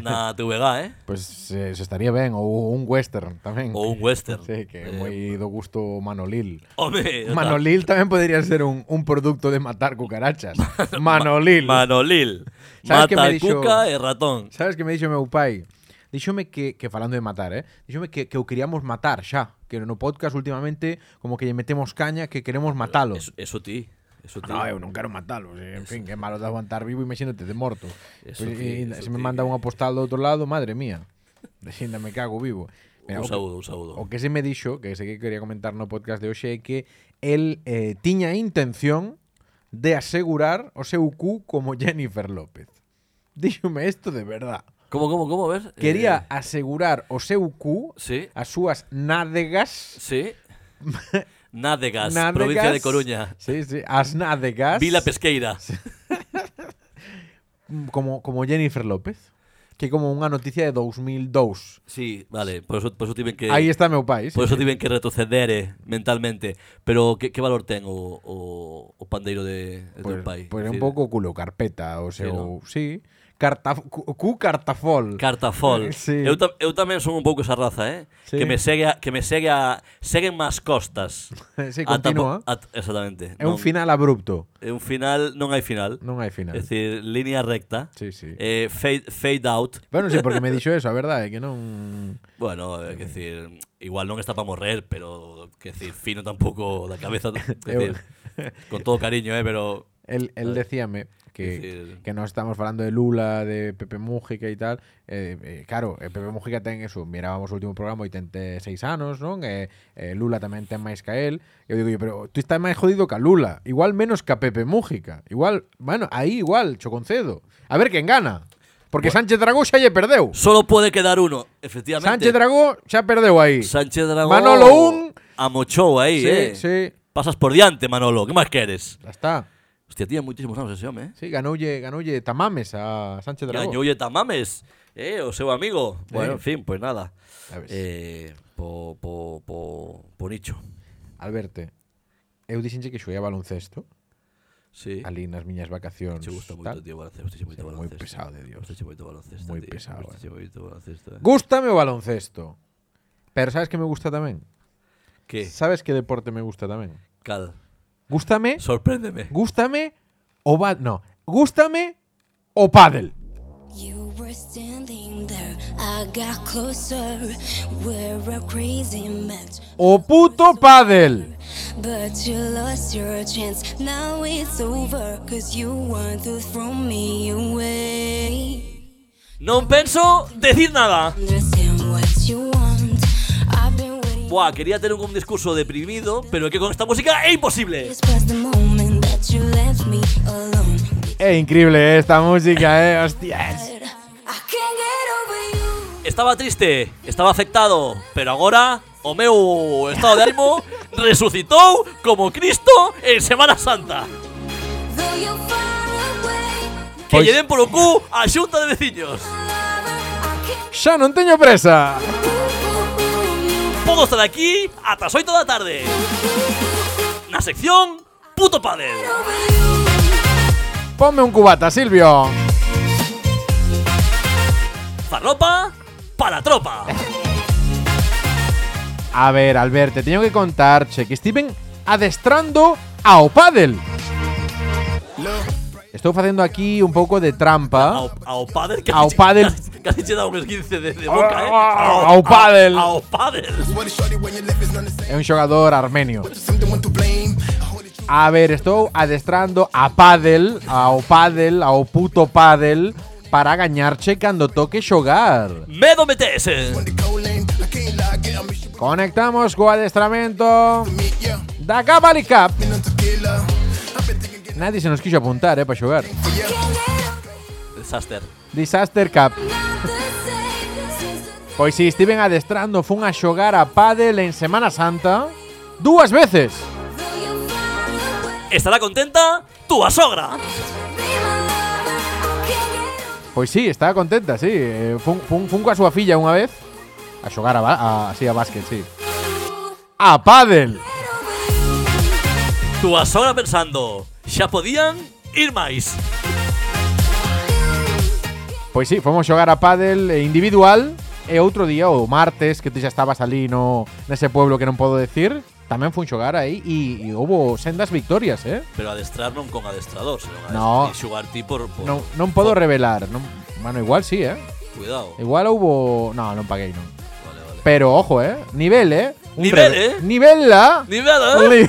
na TVG, eh? Pois Pues, se, se estaría ben, ou un western tamén. Ou un western. Sí, que é Eh, moi do gusto Manolil. Home, Manolil tamén podría ser un, un producto de matar cucarachas. Manolil. Manolil. Sabes que Mata me dixo- cuca e ratón. Sabes que me dixo meu pai? Díxome que, que falando de matar, eh? Díxome que, que o queríamos matar xa. Que no podcast últimamente como que lle metemos caña que queremos matalo. Eso, eso ti. Eso ti. No, eu non quero matalo. eh, En fin, que malo de aguantar vivo, imagínate de morto. Eso Pois, e sí, ainda se eso me sí. manda unha postal do outro lado, madre mía. Ainda me cago vivo. Mira, o un que- saúdo, un saúdo. O que se me dixo, que sei que quería comentar no podcast de hoxe, é que el eh, tiña intención de asegurar o seu cu como Jennifer López. Díxome isto de verdad. Como, como, como, ves? Eh, Quería asegurar o seu cu, Sí. as súas nádegas, Sí. Nádegas, nádegas, provincia de Coruña. Sí, sí, as nádegas Vila Pesqueira. mm, como, como Jennifer López. Que como unha noticia de 2002. Sí, vale, por eso, por eso tiven que Aí está meu país. Por eso tiven que retroceder eh, mentalmente. Pero que, que valor ten o, o, o pandeiro de, de Pois, teu pai? pois é un Es decir, pouco culo carpeta, o seu, non? sí, carta, cu, cu cartafol. Cartafol. Sí. Eu, ta- eu tamén son un pouco esa raza, eh? Sí. Que me segue a, que me segue a seguen más costas. Sí, Ata continúa. po- at- exactamente. É un Ah, Non- final abrupto. É un final, non hai final. Non hai final. É dicir, línea recta. Sí, sí. Eh, fade, fade out. Bueno, sí, porque me dixo eso, a verdade, que non... Bueno, é que decir, igual non está para morrer, pero que decir, fino tampouco da cabeza, que Eu- decir, con todo cariño, eh, pero El, el decíame Decir- que, que non estamos falando de Lula, de Pepe Mújica e tal. Eh, eh, claro, eh, Pepe Mújica ten eso. Mirábamos o último programa 86 anos, non? Eh, eh, Lula tamén ten máis que a él. E Eu digo, yo, pero tú estás máis jodido que a Lula. Igual menos que a Pepe Mújica. Igual, bueno, aí igual, cho concedo. A ver quen gana. Porque Sánchez Dragó xa lle perdeu. solo puede quedar uno, efectivamente. Sánchez Dragó xa perdeu aí. Sánchez Dragón. Manolo un. Amochou aí, sí, eh. sí. Pasas por diante, Manolo, que máis queres? Ya está. Hostia, tiña moitísimos anos ese home, eh. Sí, ganoulle, ganoulle tamames a Sánchez Dragó. Gañoulle tamames, eh, o seu amigo. Bueno, en fin, pues nada. A ver. Eh, po, po, po, po nicho. Alberto, eu dixenche que xoguei a baloncesto Sí. ali nas miñas vacacións. Che gusta moito, tal. tío, baloncesto. Gustache moito Sí, moi baloncesto. pesado de Dios. Gustache moito baloncesto, Moi tío. pesado, eh. Gustache moito baloncesto, eh. Gústame o baloncesto. Pero sabes que me gusta tamén? Que? Sabes que deporte me gusta tamén? Cal. Gústame, Sorpréndeme. gústame o ba... No, gústame o pádel? You were standing there, I got closer. We're a crazy match. O puto pádel. But you lost your chance, now it's over. Cause you want to throw me away. Non penso decir nada. Understand what you want. I've been waiting. Buah, quería tener un discurso deprimido, pero es que con esta música es imposible. This was the moment that you left me alone. Eh, increíble eh, esta música, eh. Hostias. I can't get over you. Estaba triste, estaba afectado, pero agora o meu estado de ánimo resucitou como Cristo en Semana Santa. Though you're far away, Que Pois- lle den polo cu a xunta de veciños. Xa non teño presa. Podo estar aquí ata as 8 da tarde. Na sección Puto Padel. Ponme un cubata, Silvio. Farropa para a tropa. A ver, Albert, te teño que contar, che, que estiven adestrando ao pádel. Estou facendo aquí un pouco de trampa. Ao, ao pádel casi Ao che- pádel. Casi, casi che dá un esguince de, de boca, eh. Ao- ao pádel. Ao pádel. É un xogador armenio. A ver, estou adestrando a pádel, ao pádel, ao puto pádel para gañarche cando toque xogar. Medo metes. eh. Conectamos co adestramento da Gabali Cup. Nadie se nos quixo apuntar, eh, para xogar. Disaster. Disaster Cup. Pois si estiven adestrando fun a xogar a pádel en Semana Santa dúas veces. Estará contenta túa sogra. Pois si, estaba contenta, si. Eh, Fun, fun, fun coa súa filla unha vez a xogar a, ba- a, así a básquet, si. A pádel. Túa sogra pensando, xa podían ir máis. Pois si, fomos xogar Pues a pádel eh, individual e outro día, o martes, que ti xa estabas ali no, nese pueblo que non podo decir, tamén fun xogar aí e, e houbo sendas victorias, eh? Pero adestrar non con adestrador, senón adest- No. e xugar ti por, por Non, non podo revelar. Non, bueno, igual sí, eh? cuidado. Igual houbo... No, non paguei, non. Vale, vale. Pero ojo, eh. Nivel, eh. Nivel, eh. Nivel, la. Nivel, eh.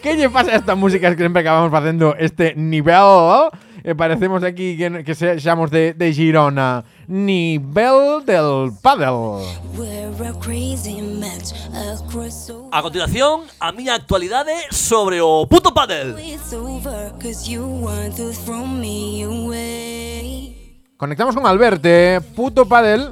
¿Qué lle pasa a estas músicas que siempre acabamos haciendo este nivel? Eh, parecemos aquí que, que se- seamos de, de Girona. Nivel del paddle. We're a crazy match across A continuación, a miña actualidade sobre o puto pádel. It's over, cause you want to throw me away. Conectamos con Alberte. Puto paddle.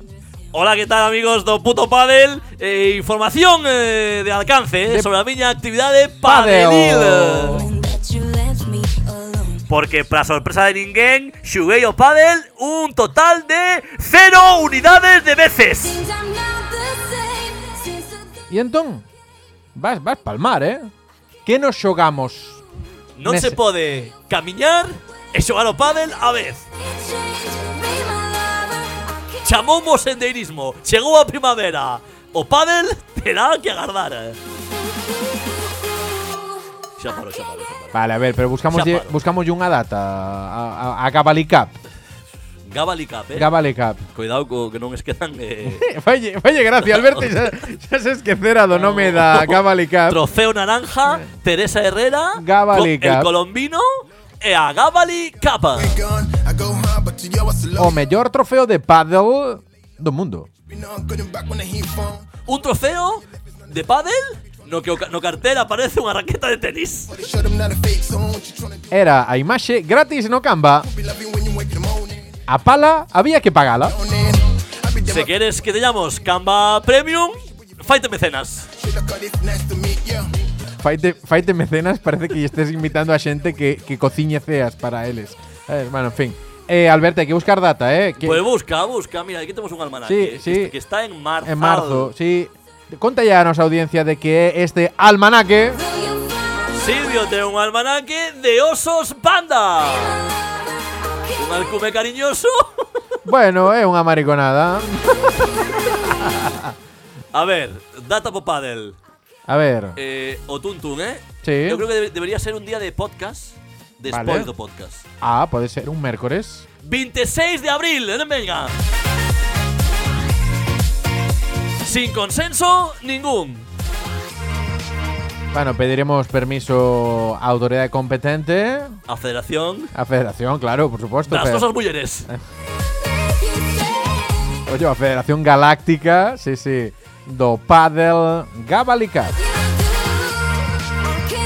Hola, que tal, amigos do puto pádel? Eh, información eh, de alcance eh, De- sobre a miña actividade Pádel. padelil. And that you left me alone. Porque, para sorpresa de ninguén, xuguei o pádel un total de cero unidades de veces. Since I'm not the same, since the day Y entón, vas, vas palmar, eh. ¿Qué nos xogamos? Non Nese- se pode camiñar e xogar o pádel a vez. changed, be my lover. I can't Chamoumo sendeirismo, chegou a primavera. O pádel terá que agardar. eh. Xa paro, xa paro, xa paro. Vale, a ver, pero buscamos Xa paro. buscamos una data a, a, a Gabali Cup. Gabali Cup, eh? Gabali Cup. Cuidado co que non esquezan eh, Falle, falle gracia, Alberto, xa, xa se esquecera do nome da Gabali Cup. Eh. Trofeo Naranja, Teresa Herrera, Gabali co- el Cup. colombino e a Gabali Cup. O mellor trofeo de paddle do mundo. Un trofeo de pádel no que o ca- no cartel aparece unha raqueta de tenis. Era a imaxe gratis no Canva. A pala había que pagala. Se queres que te llamos Canva Premium, faite mecenas. Faite, faite mecenas, parece que estés invitando a xente que, que cociñe ceas para eles. A ver, bueno, en fin. Eh, Alberto, hai que buscar data, eh? Que Pues busca, busca, mira, aquí temos un almanaque Este Sí, sí. que está en marzo. en marzo, sí. Conta ya a nosa audiencia de que é este almanaque Silvio ten un almanaque de osos panda. Un alcume cariñoso. Bueno, é unha mariconada A ver, data po pádel. A ver, Eh, o Tuntun, ¿eh? Sí. Yo creo que debe- debería ser un día de podcast Vale. despois do podcast. Ah, pode ser un mércores. 26 de abril, ¿eh? en Benga. Sin consenso ningún. Bueno, pediremos permiso a autoridade competente, A Federación a Federación, claro, por suposto. das pero- nosas mulleres. Oye, a Federación Galáctica, sí, sí, do Padel Gabalica. Que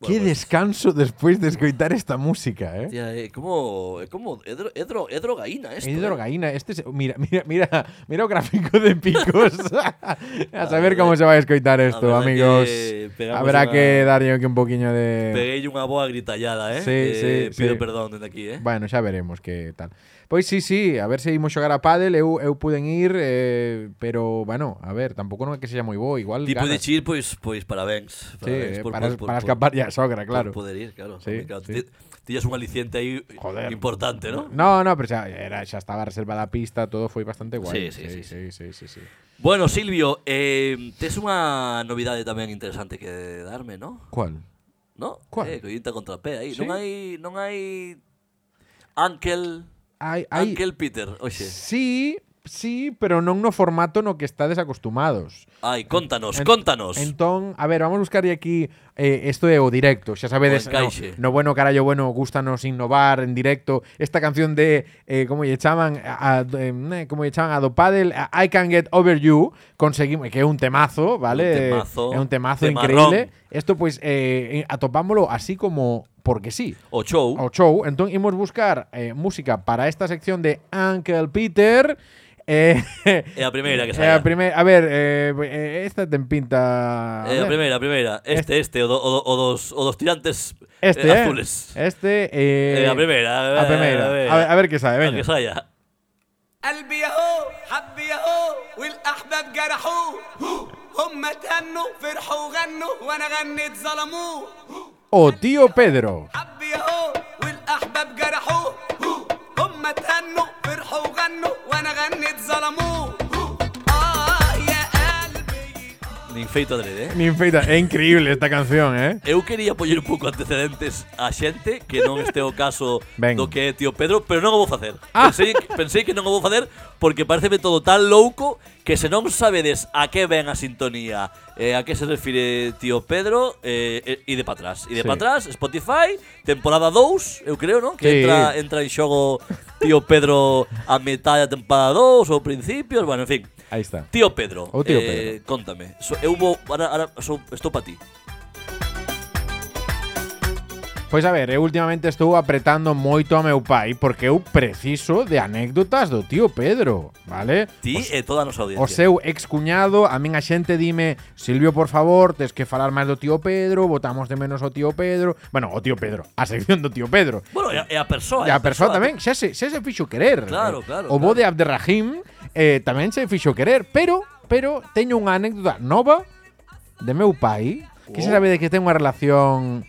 Bueno, pues, descanso despois de escoitar esta música, eh? Tía, é como, é como é dro- é dro- é drogaína esto. É eh. hidrogaína, este es, mira, mira, mira, mira o gráfico de picos. a saber como se vai a escoitar isto, verdad amigos. que pegamos Habrá una- que darlle aquí un poquinho de Peguei unha boa gritallada, eh? Sí, Eh, sí, Pido sí. perdón dende aquí, eh? Bueno, xa veremos que tal. Pois sí, sí, a ver se imos xogar a pádel, eu, eu puden ir, eh, pero, bueno, a ver, tampouco non é que sexa moi bo, igual Ti ganas. podes ir, pois, pois parabéns. Sí, parabéns eh, por- para, por- por- para por- escapar ya, sogra, claro. Por poder ir, claro. Sí, claro, sí. ti- ti ya es un aliciente ahí eh, Joder. importante, ¿no? No, no, pero xa, era, xa estaba reservada a pista, todo foi bastante guai. Sí, sí, sí, sí, sí, sí, sí. Bueno, Silvio, eh, tes unha novidade tamén interesante que darme, ¿no? Cuál? ¿No? Cuál? Eh, coñita contra P aí. Sí. Non hai non hai Uncle Hai, hai, Uncle Peter, oxe. Sí, sí, pero non no formato no que estades acostumados. Ai, contanos, En- contanos. Entón, a ver, vamos buscar aquí eh, esto é o directo, xa sabedes, O encaixe. no, no bueno, carallo, bueno, gustanos innovar en directo. Esta canción de eh, como lle chaman a, a- em, eh, como lle chaman a do pádel, a I Can Get Over You, conseguimos que é un temazo, vale? Un temazo, é un temazo temarrón. increíble. Esto pues eh, atopámoslo así como porque sí. O show. ao show. Entón imos buscar eh, música para esta sección de Uncle Peter. Eh, É a primeira que eh, saia. a, primeira- a ver, eh, eh, esta ten pinta... a Eh, ver. a primeira, a primeira. Este, este, o, do, o, do- o dos o dos tirantes Este, eh, eh. azules. Este, eh, Eh, a primeira, A a primeira. ver. A ver, a ver que sabe, A veña. que saia. قلبي ياهو حبي ياهو والاحباب جرحوه هم اتهنوا فرحوا وغنوا وانا غنيت ظلموه O Oh, tío Pedro. حبي ياهو والاحباب جرحوه هم اتهنوا فرحوا وغنوا وانا غنيت ظلموه Ah, اه يا قلبي Nin feito adrede, eh? Nin feita. É increíble esta canción, eh? Eu quería poñer un pouco antecedentes a xente que non este o caso Ben. Ah. do que é tío Pedro, pero non o vou facer. Pensei, pensei que non o vou facer porque pareceme todo tan louco que se non sabedes a que ven a sintonía, eh, a que se refire tío Pedro, eh, e- ide para atrás. Ide Sí. para atrás, Spotify, temporada 2, eu creo, non? Que Sí. entra, entra en xogo tío Pedro a metade da temporada 2 ou principios, bueno, en fin. Aí está. Tío Pedro, O tío eh, contame. So, eu vou, ahora, ahora, so, estou para ti. Pois Pues a ver, eu ultimamente estou apretando moito a meu pai porque eu preciso de anécdotas do tío Pedro, vale? Ti e toda a nosa audiencia. O seu excuñado, a min a xente dime Silvio, por favor, tes que falar máis do tío Pedro Votamos de menos o tío Pedro Bueno, o tío Pedro, a sección do tío Pedro Bueno, e a, e a persoa. E a persoa tamén xa se, xa se fixo querer Claro, Eh, claro, O bo de Abderrahim eh, tamén se fixo querer Pero, pero, teño unha anécdota nova De meu pai Que Oh. se sabe de que ten unha relación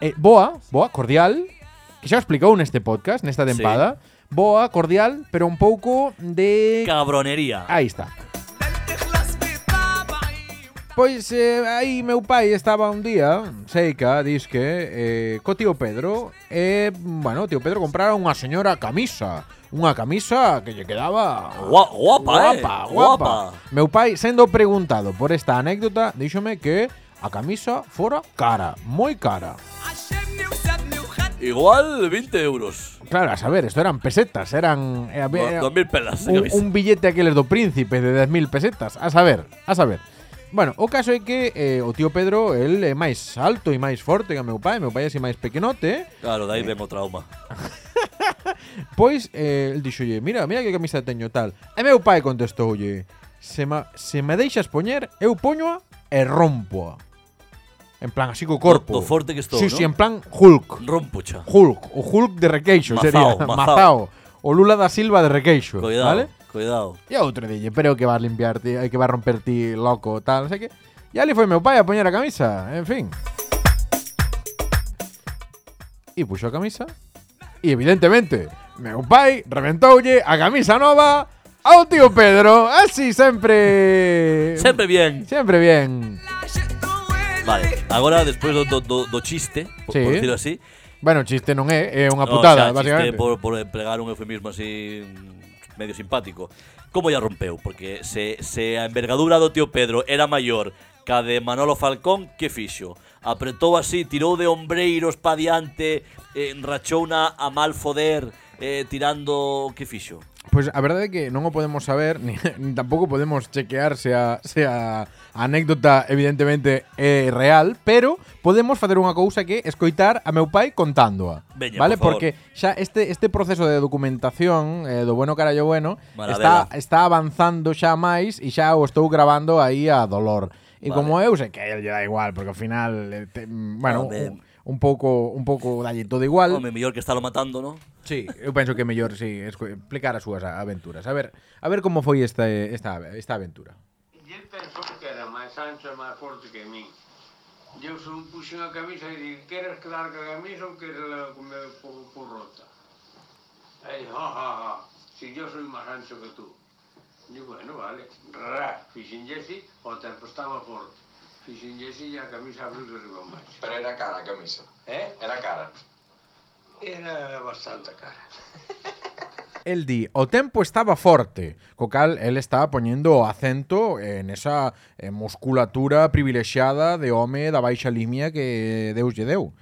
eh, Boa, boa, cordial Que xa o explicou neste podcast, nesta tempada Boa, cordial, pero un pouco de... Cabronería. Aí está تخلص بطبعي Pois eh, aí meu pai estaba un día, Seica, disque, eh, co tío Pedro, e, bueno, o tío Pedro comprara unha señora camisa, unha camisa que lle quedaba Gua- guapa, eh, guapa. Meu pai, sendo preguntado por esta anécdota, díxome que a camisa fora cara, moi cara. عشمني وسابني وخدني Igual 20 euros. Claro, a saber, isto eran pesetas, eran... eh, Bueno, había- 2000 pelas. un, ¿sabes? un billete aqueles do príncipe de 10.000 pesetas, a saber, a saber. Bueno, o caso é que eh, o tío Pedro, el é máis alto e máis forte que o meu pai, meu pai é así máis pequenote, Claro, de aí ven o trauma. pois eh, el dixolle, mira, mira que camisa teño tal. E meu pai contestoulle, se, ma, se me deixas poñer, eu poñoa e rompoa. En plan, así co corpo. Do- do forte que estou, sí, ¿no? sí, en plan Hulk. Rompucha. Hulk, o Hulk de Requeixo Mazao, sería. mazao. O Lula da Silva de Requeixo, Cuidado, vale? cuidado. E a outro dille, pero que vas limpiar ti, eh, que vas romper ti loco, tal, non sei que. E ali foi meu pai a poñer a camisa, en fin. E puxo a camisa. E evidentemente, meu pai reventoulle a camisa nova ao tío Pedro, así sempre... Sempre bien. Sempre bien. عشقته وين Vale, agora despois do, do, do, do chiste, por, Sí. por decirlo así, Bueno, chiste non é, é unha No, putada, o sea, chiste basicamente. por, por empregar un eufemismo así mm, medio simpático. Como ya rompeu, porque se, se a envergadura do tío Pedro era maior ca de Manolo Falcón, que fixo? Apretou así, tirou de ombreiros pa diante, eh, enrachou na a mal foder, eh, tirando... Que fixo? Pois a verdade é que non o podemos saber, ni, ni tampouco podemos chequear se a, se a anécdota evidentemente é real, pero podemos facer unha cousa que é escoitar a meu pai contándoa. Veña, vale, por favor. porque xa este este proceso de documentación eh, do bueno carallo bueno Maravela. está está avanzando xa máis e xa o estou gravando aí a dolor. E Vale. como eu sei que a ele lle dá igual, porque ao final eh, te, bueno, un, Home. un pouco un pouco dalle todo igual. Home, mellor que está lo matando, ¿no? Sí, eu penso que é mellor si sí, explicar as súas aventuras. A ver, a ver como foi esta esta esta aventura. Y él pensó que era más ancho, más fuerte que mí. Yo se me puse una camisa y dije, ¿quieres larga camisa o quieres la con- por, por rota? Ahí, ja, ja, ja, si yo soy más ancho que tú. Y bueno, vale, ra, fishing Jesse, o te apostaba fuerte. Fishing Jesse y la camisa abrió que arriba más. Pero era cara a camisa. ¿Eh? Era cara. Era bastante cara. El di, o tempo estaba forte, co cal el estaba poñendo o acento en esa eh, musculatura privilexiada de home da baixa limia que Deus lle deu.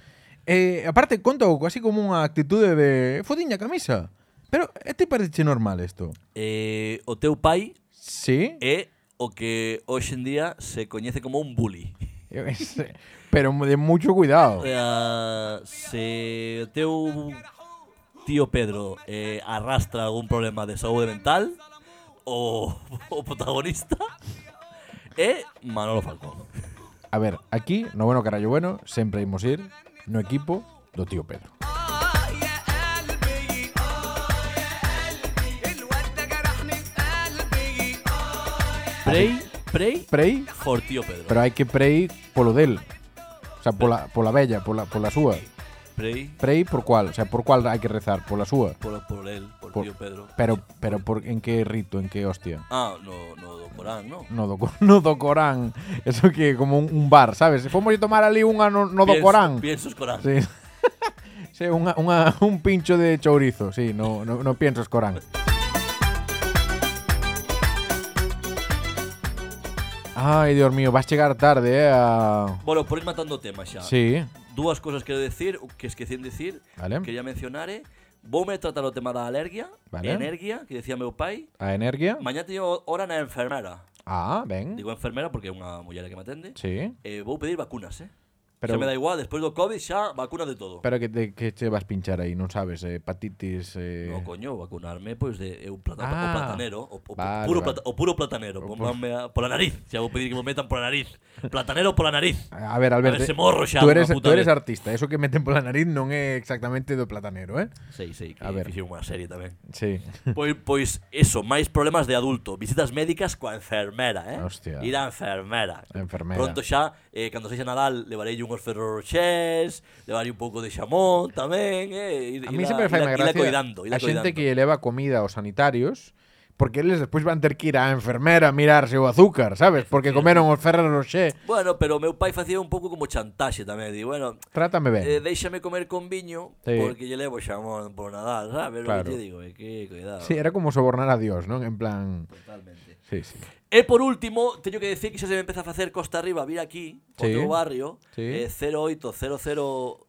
Eh, aparte, conta así como unha actitude de fodiña camisa. Pero, eh, te parece normal isto? Eh, o teu pai Sí? é o que hoxe en día se coñece como un bully. Eu que sei. Pero de mucho cuidado. O sea, se o teu tío Pedro eh, arrastra algún problema de saúde mental o, o protagonista é Manolo Falcón. A ver, aquí, no bueno carallo bueno, sempre imos ir no equipo do tío Pedro. آه يا قلبي آه يا قلبي الواد ده جرحني في قلبي Prey, prey Prei, for tío Pedro. pero hai que prei polo del. O sea, pola, pola bella, pola, pola súa. Prey Prei por cual, o sea, por cual hai que rezar, pola súa. por, por él, por, Por- tío Pedro. Pero, pero por, en que rito, en que hostia. Ah, no, no do Corán, no. No do, co- no do Corán. Eso que é como un, un bar, sabes? Se fomos a tomar ali unha no, no do Pienso- Corán. Piensos Corán. Sí. sí, unha, unha, un pincho de chourizo, sí, no, no, no pienso escorán. Ay, Dios mío, vas a llegar tarde, eh, a- Bueno, por ir matando o tema xa. Sí, Dúas cousas quero decir, que esquecín dicir, Vale. quería mencionar eh, é Voume tratar o tema da alergia, Vale. energia, que decía meu pai. a energía. Mañá teño hora na enfermera. Ah, ven. Digo enfermera porque é unha muller a que me atende. Sí, Eh, vou pedir vacunas, eh? Pero- Pero... Xa me dá igual, despois do COVID xa vacuna de todo. pero que te, que che vas pinchar aí, non sabes, eh, hepatitis... Eh... No, coño, vacunarme, pois, de eu plata, Ah, o platanero, o, o, vale, puro, vale. plata, o puro platanero, pu- ponganme a, pola nariz, xa vou pedir que me metan pola nariz. Platanero pola nariz. A ver, Alberto, ver se morro xa tú dunha eres, puta tú eres vez. artista, eso que meten pola nariz non é exactamente do platanero, eh? Sei, sei, que A ver. fixen unha serie tamén. Sí. Pois, pois eso, máis problemas de adulto Visitas médicas coa enfermera, eh? Hostia. Ir á enfermera A enfermera. Pronto xa, eh, cando sexa Nadal Levarei unhos ferroxés Levarei un pouco de xamón tamén eh? Ir, A mí ila- sempre fai ila- unha ila gracia coidando, ila a xente coidando. que eleva comida aos sanitarios porque eles despois van ter que ir á enfermera a mirarse o azúcar, sabes? Porque comeron o Ferrero Rocher. Bueno, pero meu pai facía un pouco como chantaxe tamén Di, bueno, Trátame ben. eh, déixame comer con viño Sí. Porque lle levo xamón por Nadal, sabes? Claro. Claro. Que lle digo, eh, que cuidado sí, era como sobornar a Dios, non? En plan... Totalmente Sí, sí. E por último, teño que decir que xa se me empeza a facer costa arriba Vir aquí, o Sí. teu barrio Sí. eh, 08000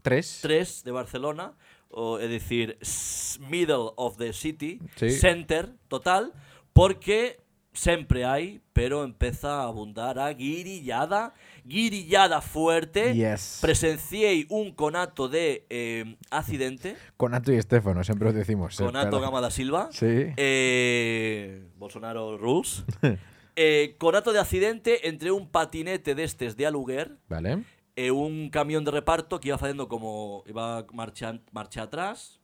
Tres. 3 de Barcelona, o, é dicir, s- middle of the city, Sí. center total, porque sempre hai, pero empeza a abundar a guirillada, guirillada fuerte. Yes. Presenciei un conato de eh, accidente, Conato e Estéfano, sempre os decimos. eh, conato pero- Gama da Silva. Sí. Eh, Bolsonaro rules. eh, conato de accidente entre un patinete destes de aluguer Vale. e un camión de reparto que iba facendo como iba marcha marcha atrás,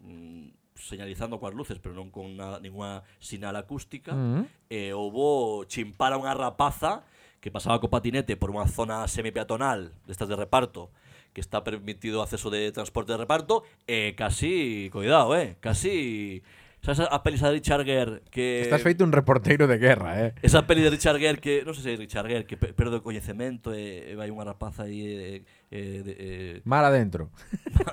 mm, señalizando coas luces, pero non con nada, ninguna sinal acústica, Mm. e houbo chimpar a unha rapaza que pasaba co patinete por unha zona semipeatonal destas de reparto que está permitido o acceso de transporte de reparto e eh, casi, cuidado, eh, casi ¿Sabes a pelis de Richard Gere que... Estás feito un reportero de guerra, eh. Esa peli de Richard Gere que, non sei se é Richard Gere, que pe- perde o coñecemento e, e vai unha rapaza aí e, e, de- e, Mar adentro.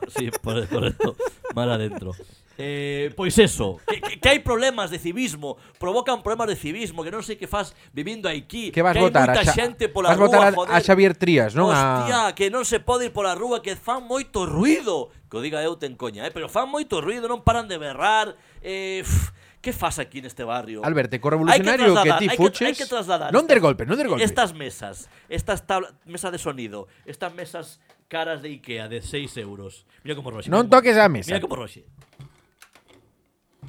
sí, por, correcto, mal adentro. Eh, pois eso, que, que, que hai problemas de civismo, provocan problemas de civismo, que non sei que fas vivindo aquí, Que vas que hai votar? moita a Xa- xente vas pola votar rúa, a, joder. a Xavier Trías, non? A... Hostia, que non se pode ir pola rúa que fan moito ruido. Que o diga eu ten coña, eh, pero fan moito ruido, non paran de berrar. Eh, pff, que fas aquí neste barrio? Alberto, co Hai revolucionario que, trasladar- ti hai fuches... Hai que trasladar. non der estas- golpe, non der golpe. Estas mesas, estas tabla, mesa de sonido, estas mesas caras de Ikea de 6 euros. Mira como roxe. Non mira como- toques a mesa. Mira como roxe.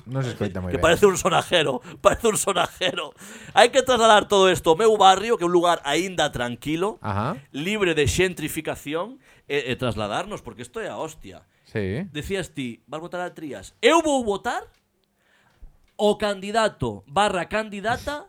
Non se escoita moi Que ben. parece un sonajero, parece un sonajero. Hai que trasladar todo isto ao meu barrio, que é un lugar aínda tranquilo, Ajá. libre de xentrificación, e, e trasladarnos, porque isto é a hostia. Sí. Decías ti, vas votar a Trías. Eu vou votar o candidato barra candidata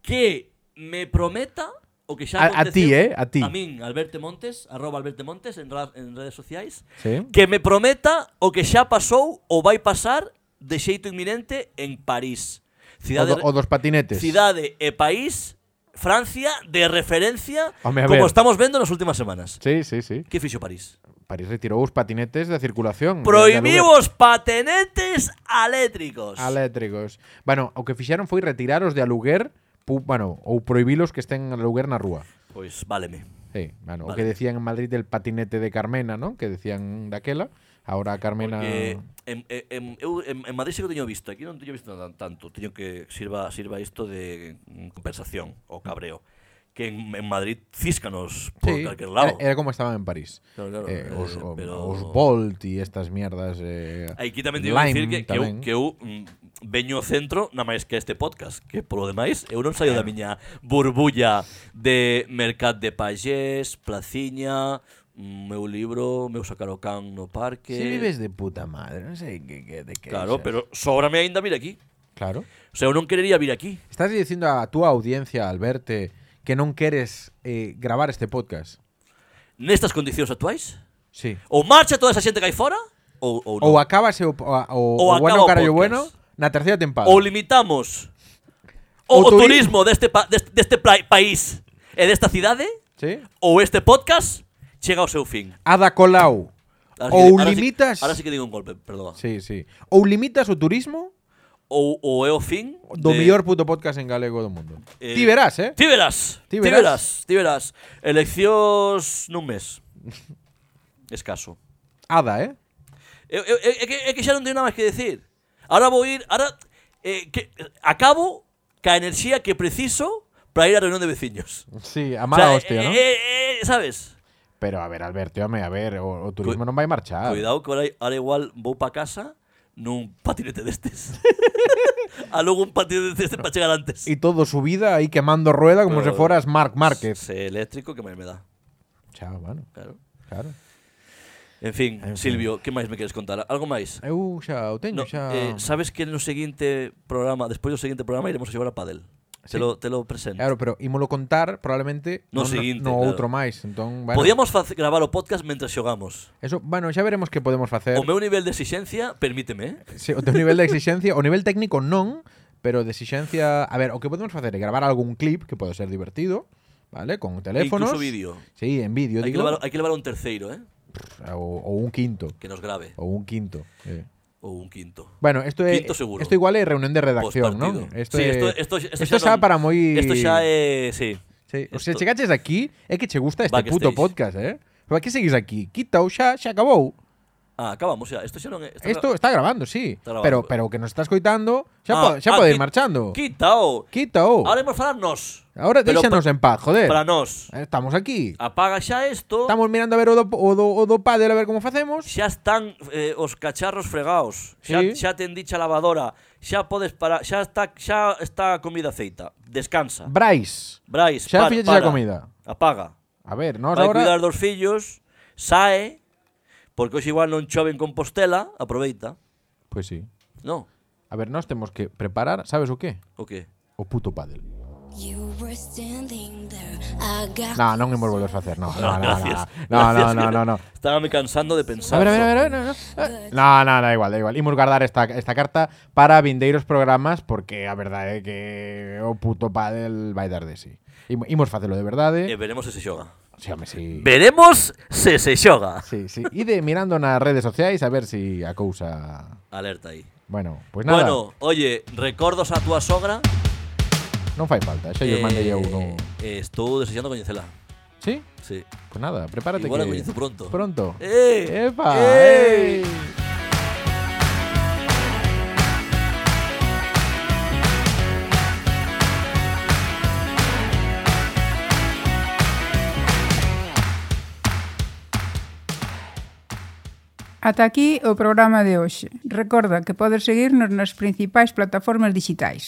que me prometa o que A- xa a aconteceu- ti, eh, a ti. A min, Alberto Montes, arroba Alberto Montes en, ra- en redes sociais. Sí. Que me prometa o que xa pasou ou vai pasar de xeito inminente en París. O, Cidade, do, o dos patinetes. cidade e país, Francia, de referencia, Home, a como ver. estamos vendo nas últimas semanas. Sí, sí, sí. Que fixo París? París retirou os patinetes da circulación. Prohibimos patenentes eléctricos. Eléctricos. Bueno, o que fixeron foi retirar os de aluguer, pu, bueno, ou prohibilos que estén aluguer na rúa. Pois váleme. Sí, bueno, o Vale. que decían en Madrid del patinete de Carmena, ¿no? Que decían daquela. Ahora Carmena... Porque en, en, en, eu, en, en Madrid sí que o teño visto, aquí non teño visto nada tanto, teño que sirva sirva isto de mm, compensación o cabreo. Que en, en Madrid ciscanos por Sí, Eh, calquer lado. Era, era como estaban en París. Claro, claro, Eh, eh, os, o- pero- os Bolt y estas mierdas. Eh, Aquí tamén teño que dicir Lime que, que, eu, tamén. que eu mm, veño ao centro na máis que a este podcast Que polo demais eu non saio da miña burbulla de Mercat de Pagés, Placiña, mm, meu libro, meu sacar o can no parque Si vives de puta madre, non sei que, que, de que Claro, dices. pero sóbrame aínda vir aquí Claro. O sea, eu non querería vir aquí Estás diciendo a túa audiencia, Alberto, que non queres eh, gravar este podcast. Nestas condicións actuais Sí. Ou marcha toda esa xente que hai fora Ou, ou, non. Ou acabas o, o, o, Ou o bueno acaba o carallo podcast. bueno na terceira temporada. ou limitamos o, Ou o turi- turismo deste, pa, deste, deste pla- país E desta cidade Sí. Ou este podcast chega ao seu fin Ada Colau. Ahora sí que- Ou ahora sí- limitas... ahora sí que digo un golpe, perdón. Sí, sí. Ou limitas o turismo Ou, ou é o fin do de- mellor puto podcast en galego do mundo. Eh, Ti verás, eh? Ti verás, Ti ti verás, verás. ti verás. Eleccións nun mes. Escaso. Ada, eh? Eu, eu, eu, é, eh, que, é que xa non teño nada máis que decir. Ahora vou ir, ahora eh, que, acabo ca enerxía que preciso para ir á reunión de veciños. Sí, a O sea, mala hostia, eh, ¿no? eh, eh, sabes? Pero a ver, Alberto, home, a ver, o, o turismo Cu- non vai marchar. Cuidado que ahora, ahora igual vou pa casa nun patinete destes. a logo un patinete destes para chegar antes. E todo su vida aí quemando rueda como Pero- se foras Marc Márquez. Se eléctrico que máis me dá, Chao, bueno, claro. claro. En fin, Silvio, que máis me queres contar? Algo máis? Eu xa o teño, No, xa... eh, sabes que no seguinte programa, despois do seguinte programa iremos a xogar a pádel. Sí. Te lo te lo presento. Claro, pero ímolo contar probablemente non- No seguinte, no claro. outro máis, entón, bueno, Podíamos fac- gravar o podcast mentras xogamos. eso, bueno, xa veremos que podemos facer. O meu nivel de exixencia, permíteme, eh? Sí, o teu nivel de exixencia, o nivel técnico non, pero de exixencia, a ver, o que podemos facer é gravar algún clip que pode ser divertido, ¿vale? Con teléfonos. e incluso vídeo. Sí, en vídeo, Hai que, digo, levar, hai que levar un terceiro, eh? ou, ou un quinto, Que nos grave. ou un quinto. eh. Ou un quinto. Bueno, esto é Quinto seguro. Esto igual é reunión de redacción, Postpartido. ¿no? Esto sí, é esto, esto, esto, esto xa xa non- para moi Esto xa é... Sí. Sí, o Esto- sea, chegaches aquí é que che gusta este Backstage. puto podcast, eh? Para que seguís aquí? Quitao xa, xa acabou. Ah, acabamos xa. Esto xa non é... isto- Isto está grabando, sí, Está grabando. pero pero o que nos está escoitando, xa po- Ah, xa ah, pode ir qui- marchando. Quitao. Quitao. Ahora imos falar nos. Ahora Pero déxanos pa- en paz, joder. Eh, Para nós. Estamos aquí. Apaga xa isto. Estamos mirando a ver o do, o do, o do pádel a ver como facemos. Xa están eh, os cacharros fregaos. Xa, Sí. xa ten dicha lavadora. Xa podes parar, xa está xa está a comida feita. Descansa. Brais. Brais, Xa par- fixeches para. a comida. Apaga. A ver, nós Vai cuidar ahora dos fillos, sae, porque hoxe igual non chove en Compostela, aproveita. Pois Pues sí. No, A ver, nós temos que preparar, sabes o que? o que? O puto pádel. You were standing there. I got No, non me volvo a facer, no, no, no, no, Gracias. no, no, Gracias, no, que no, no. Estaba me cansando de A pensar. ver, a ver, a sobre- ver, a ver, no, no. Eh, No, no, da igual, da igual. Imos guardar esta, esta carta para vindeiros programas porque a verdade é que o puto pádel vai dar de sí. Imo- Imos facelo de E verdade. veremos se se xoga. Sí, home, sí. Veremos se se xoga. Sí, sí. Ide mirando nas redes sociais a ver si a cousa... Alerta aí. Bueno, pois pues nada, bueno, Bueno, oye, recordos a túa sogra. non fai falta. Xa eh, yo eh, mandei eu non... eh, estou desexando coñecela. Sí? Sí. Pues nada, prepárate Igual a que... coñezo pronto. Pronto. Eh, ¡Epa! eh. eh. Ata aquí o programa de hoxe. Recorda que podes seguirnos nas principais plataformas digitais.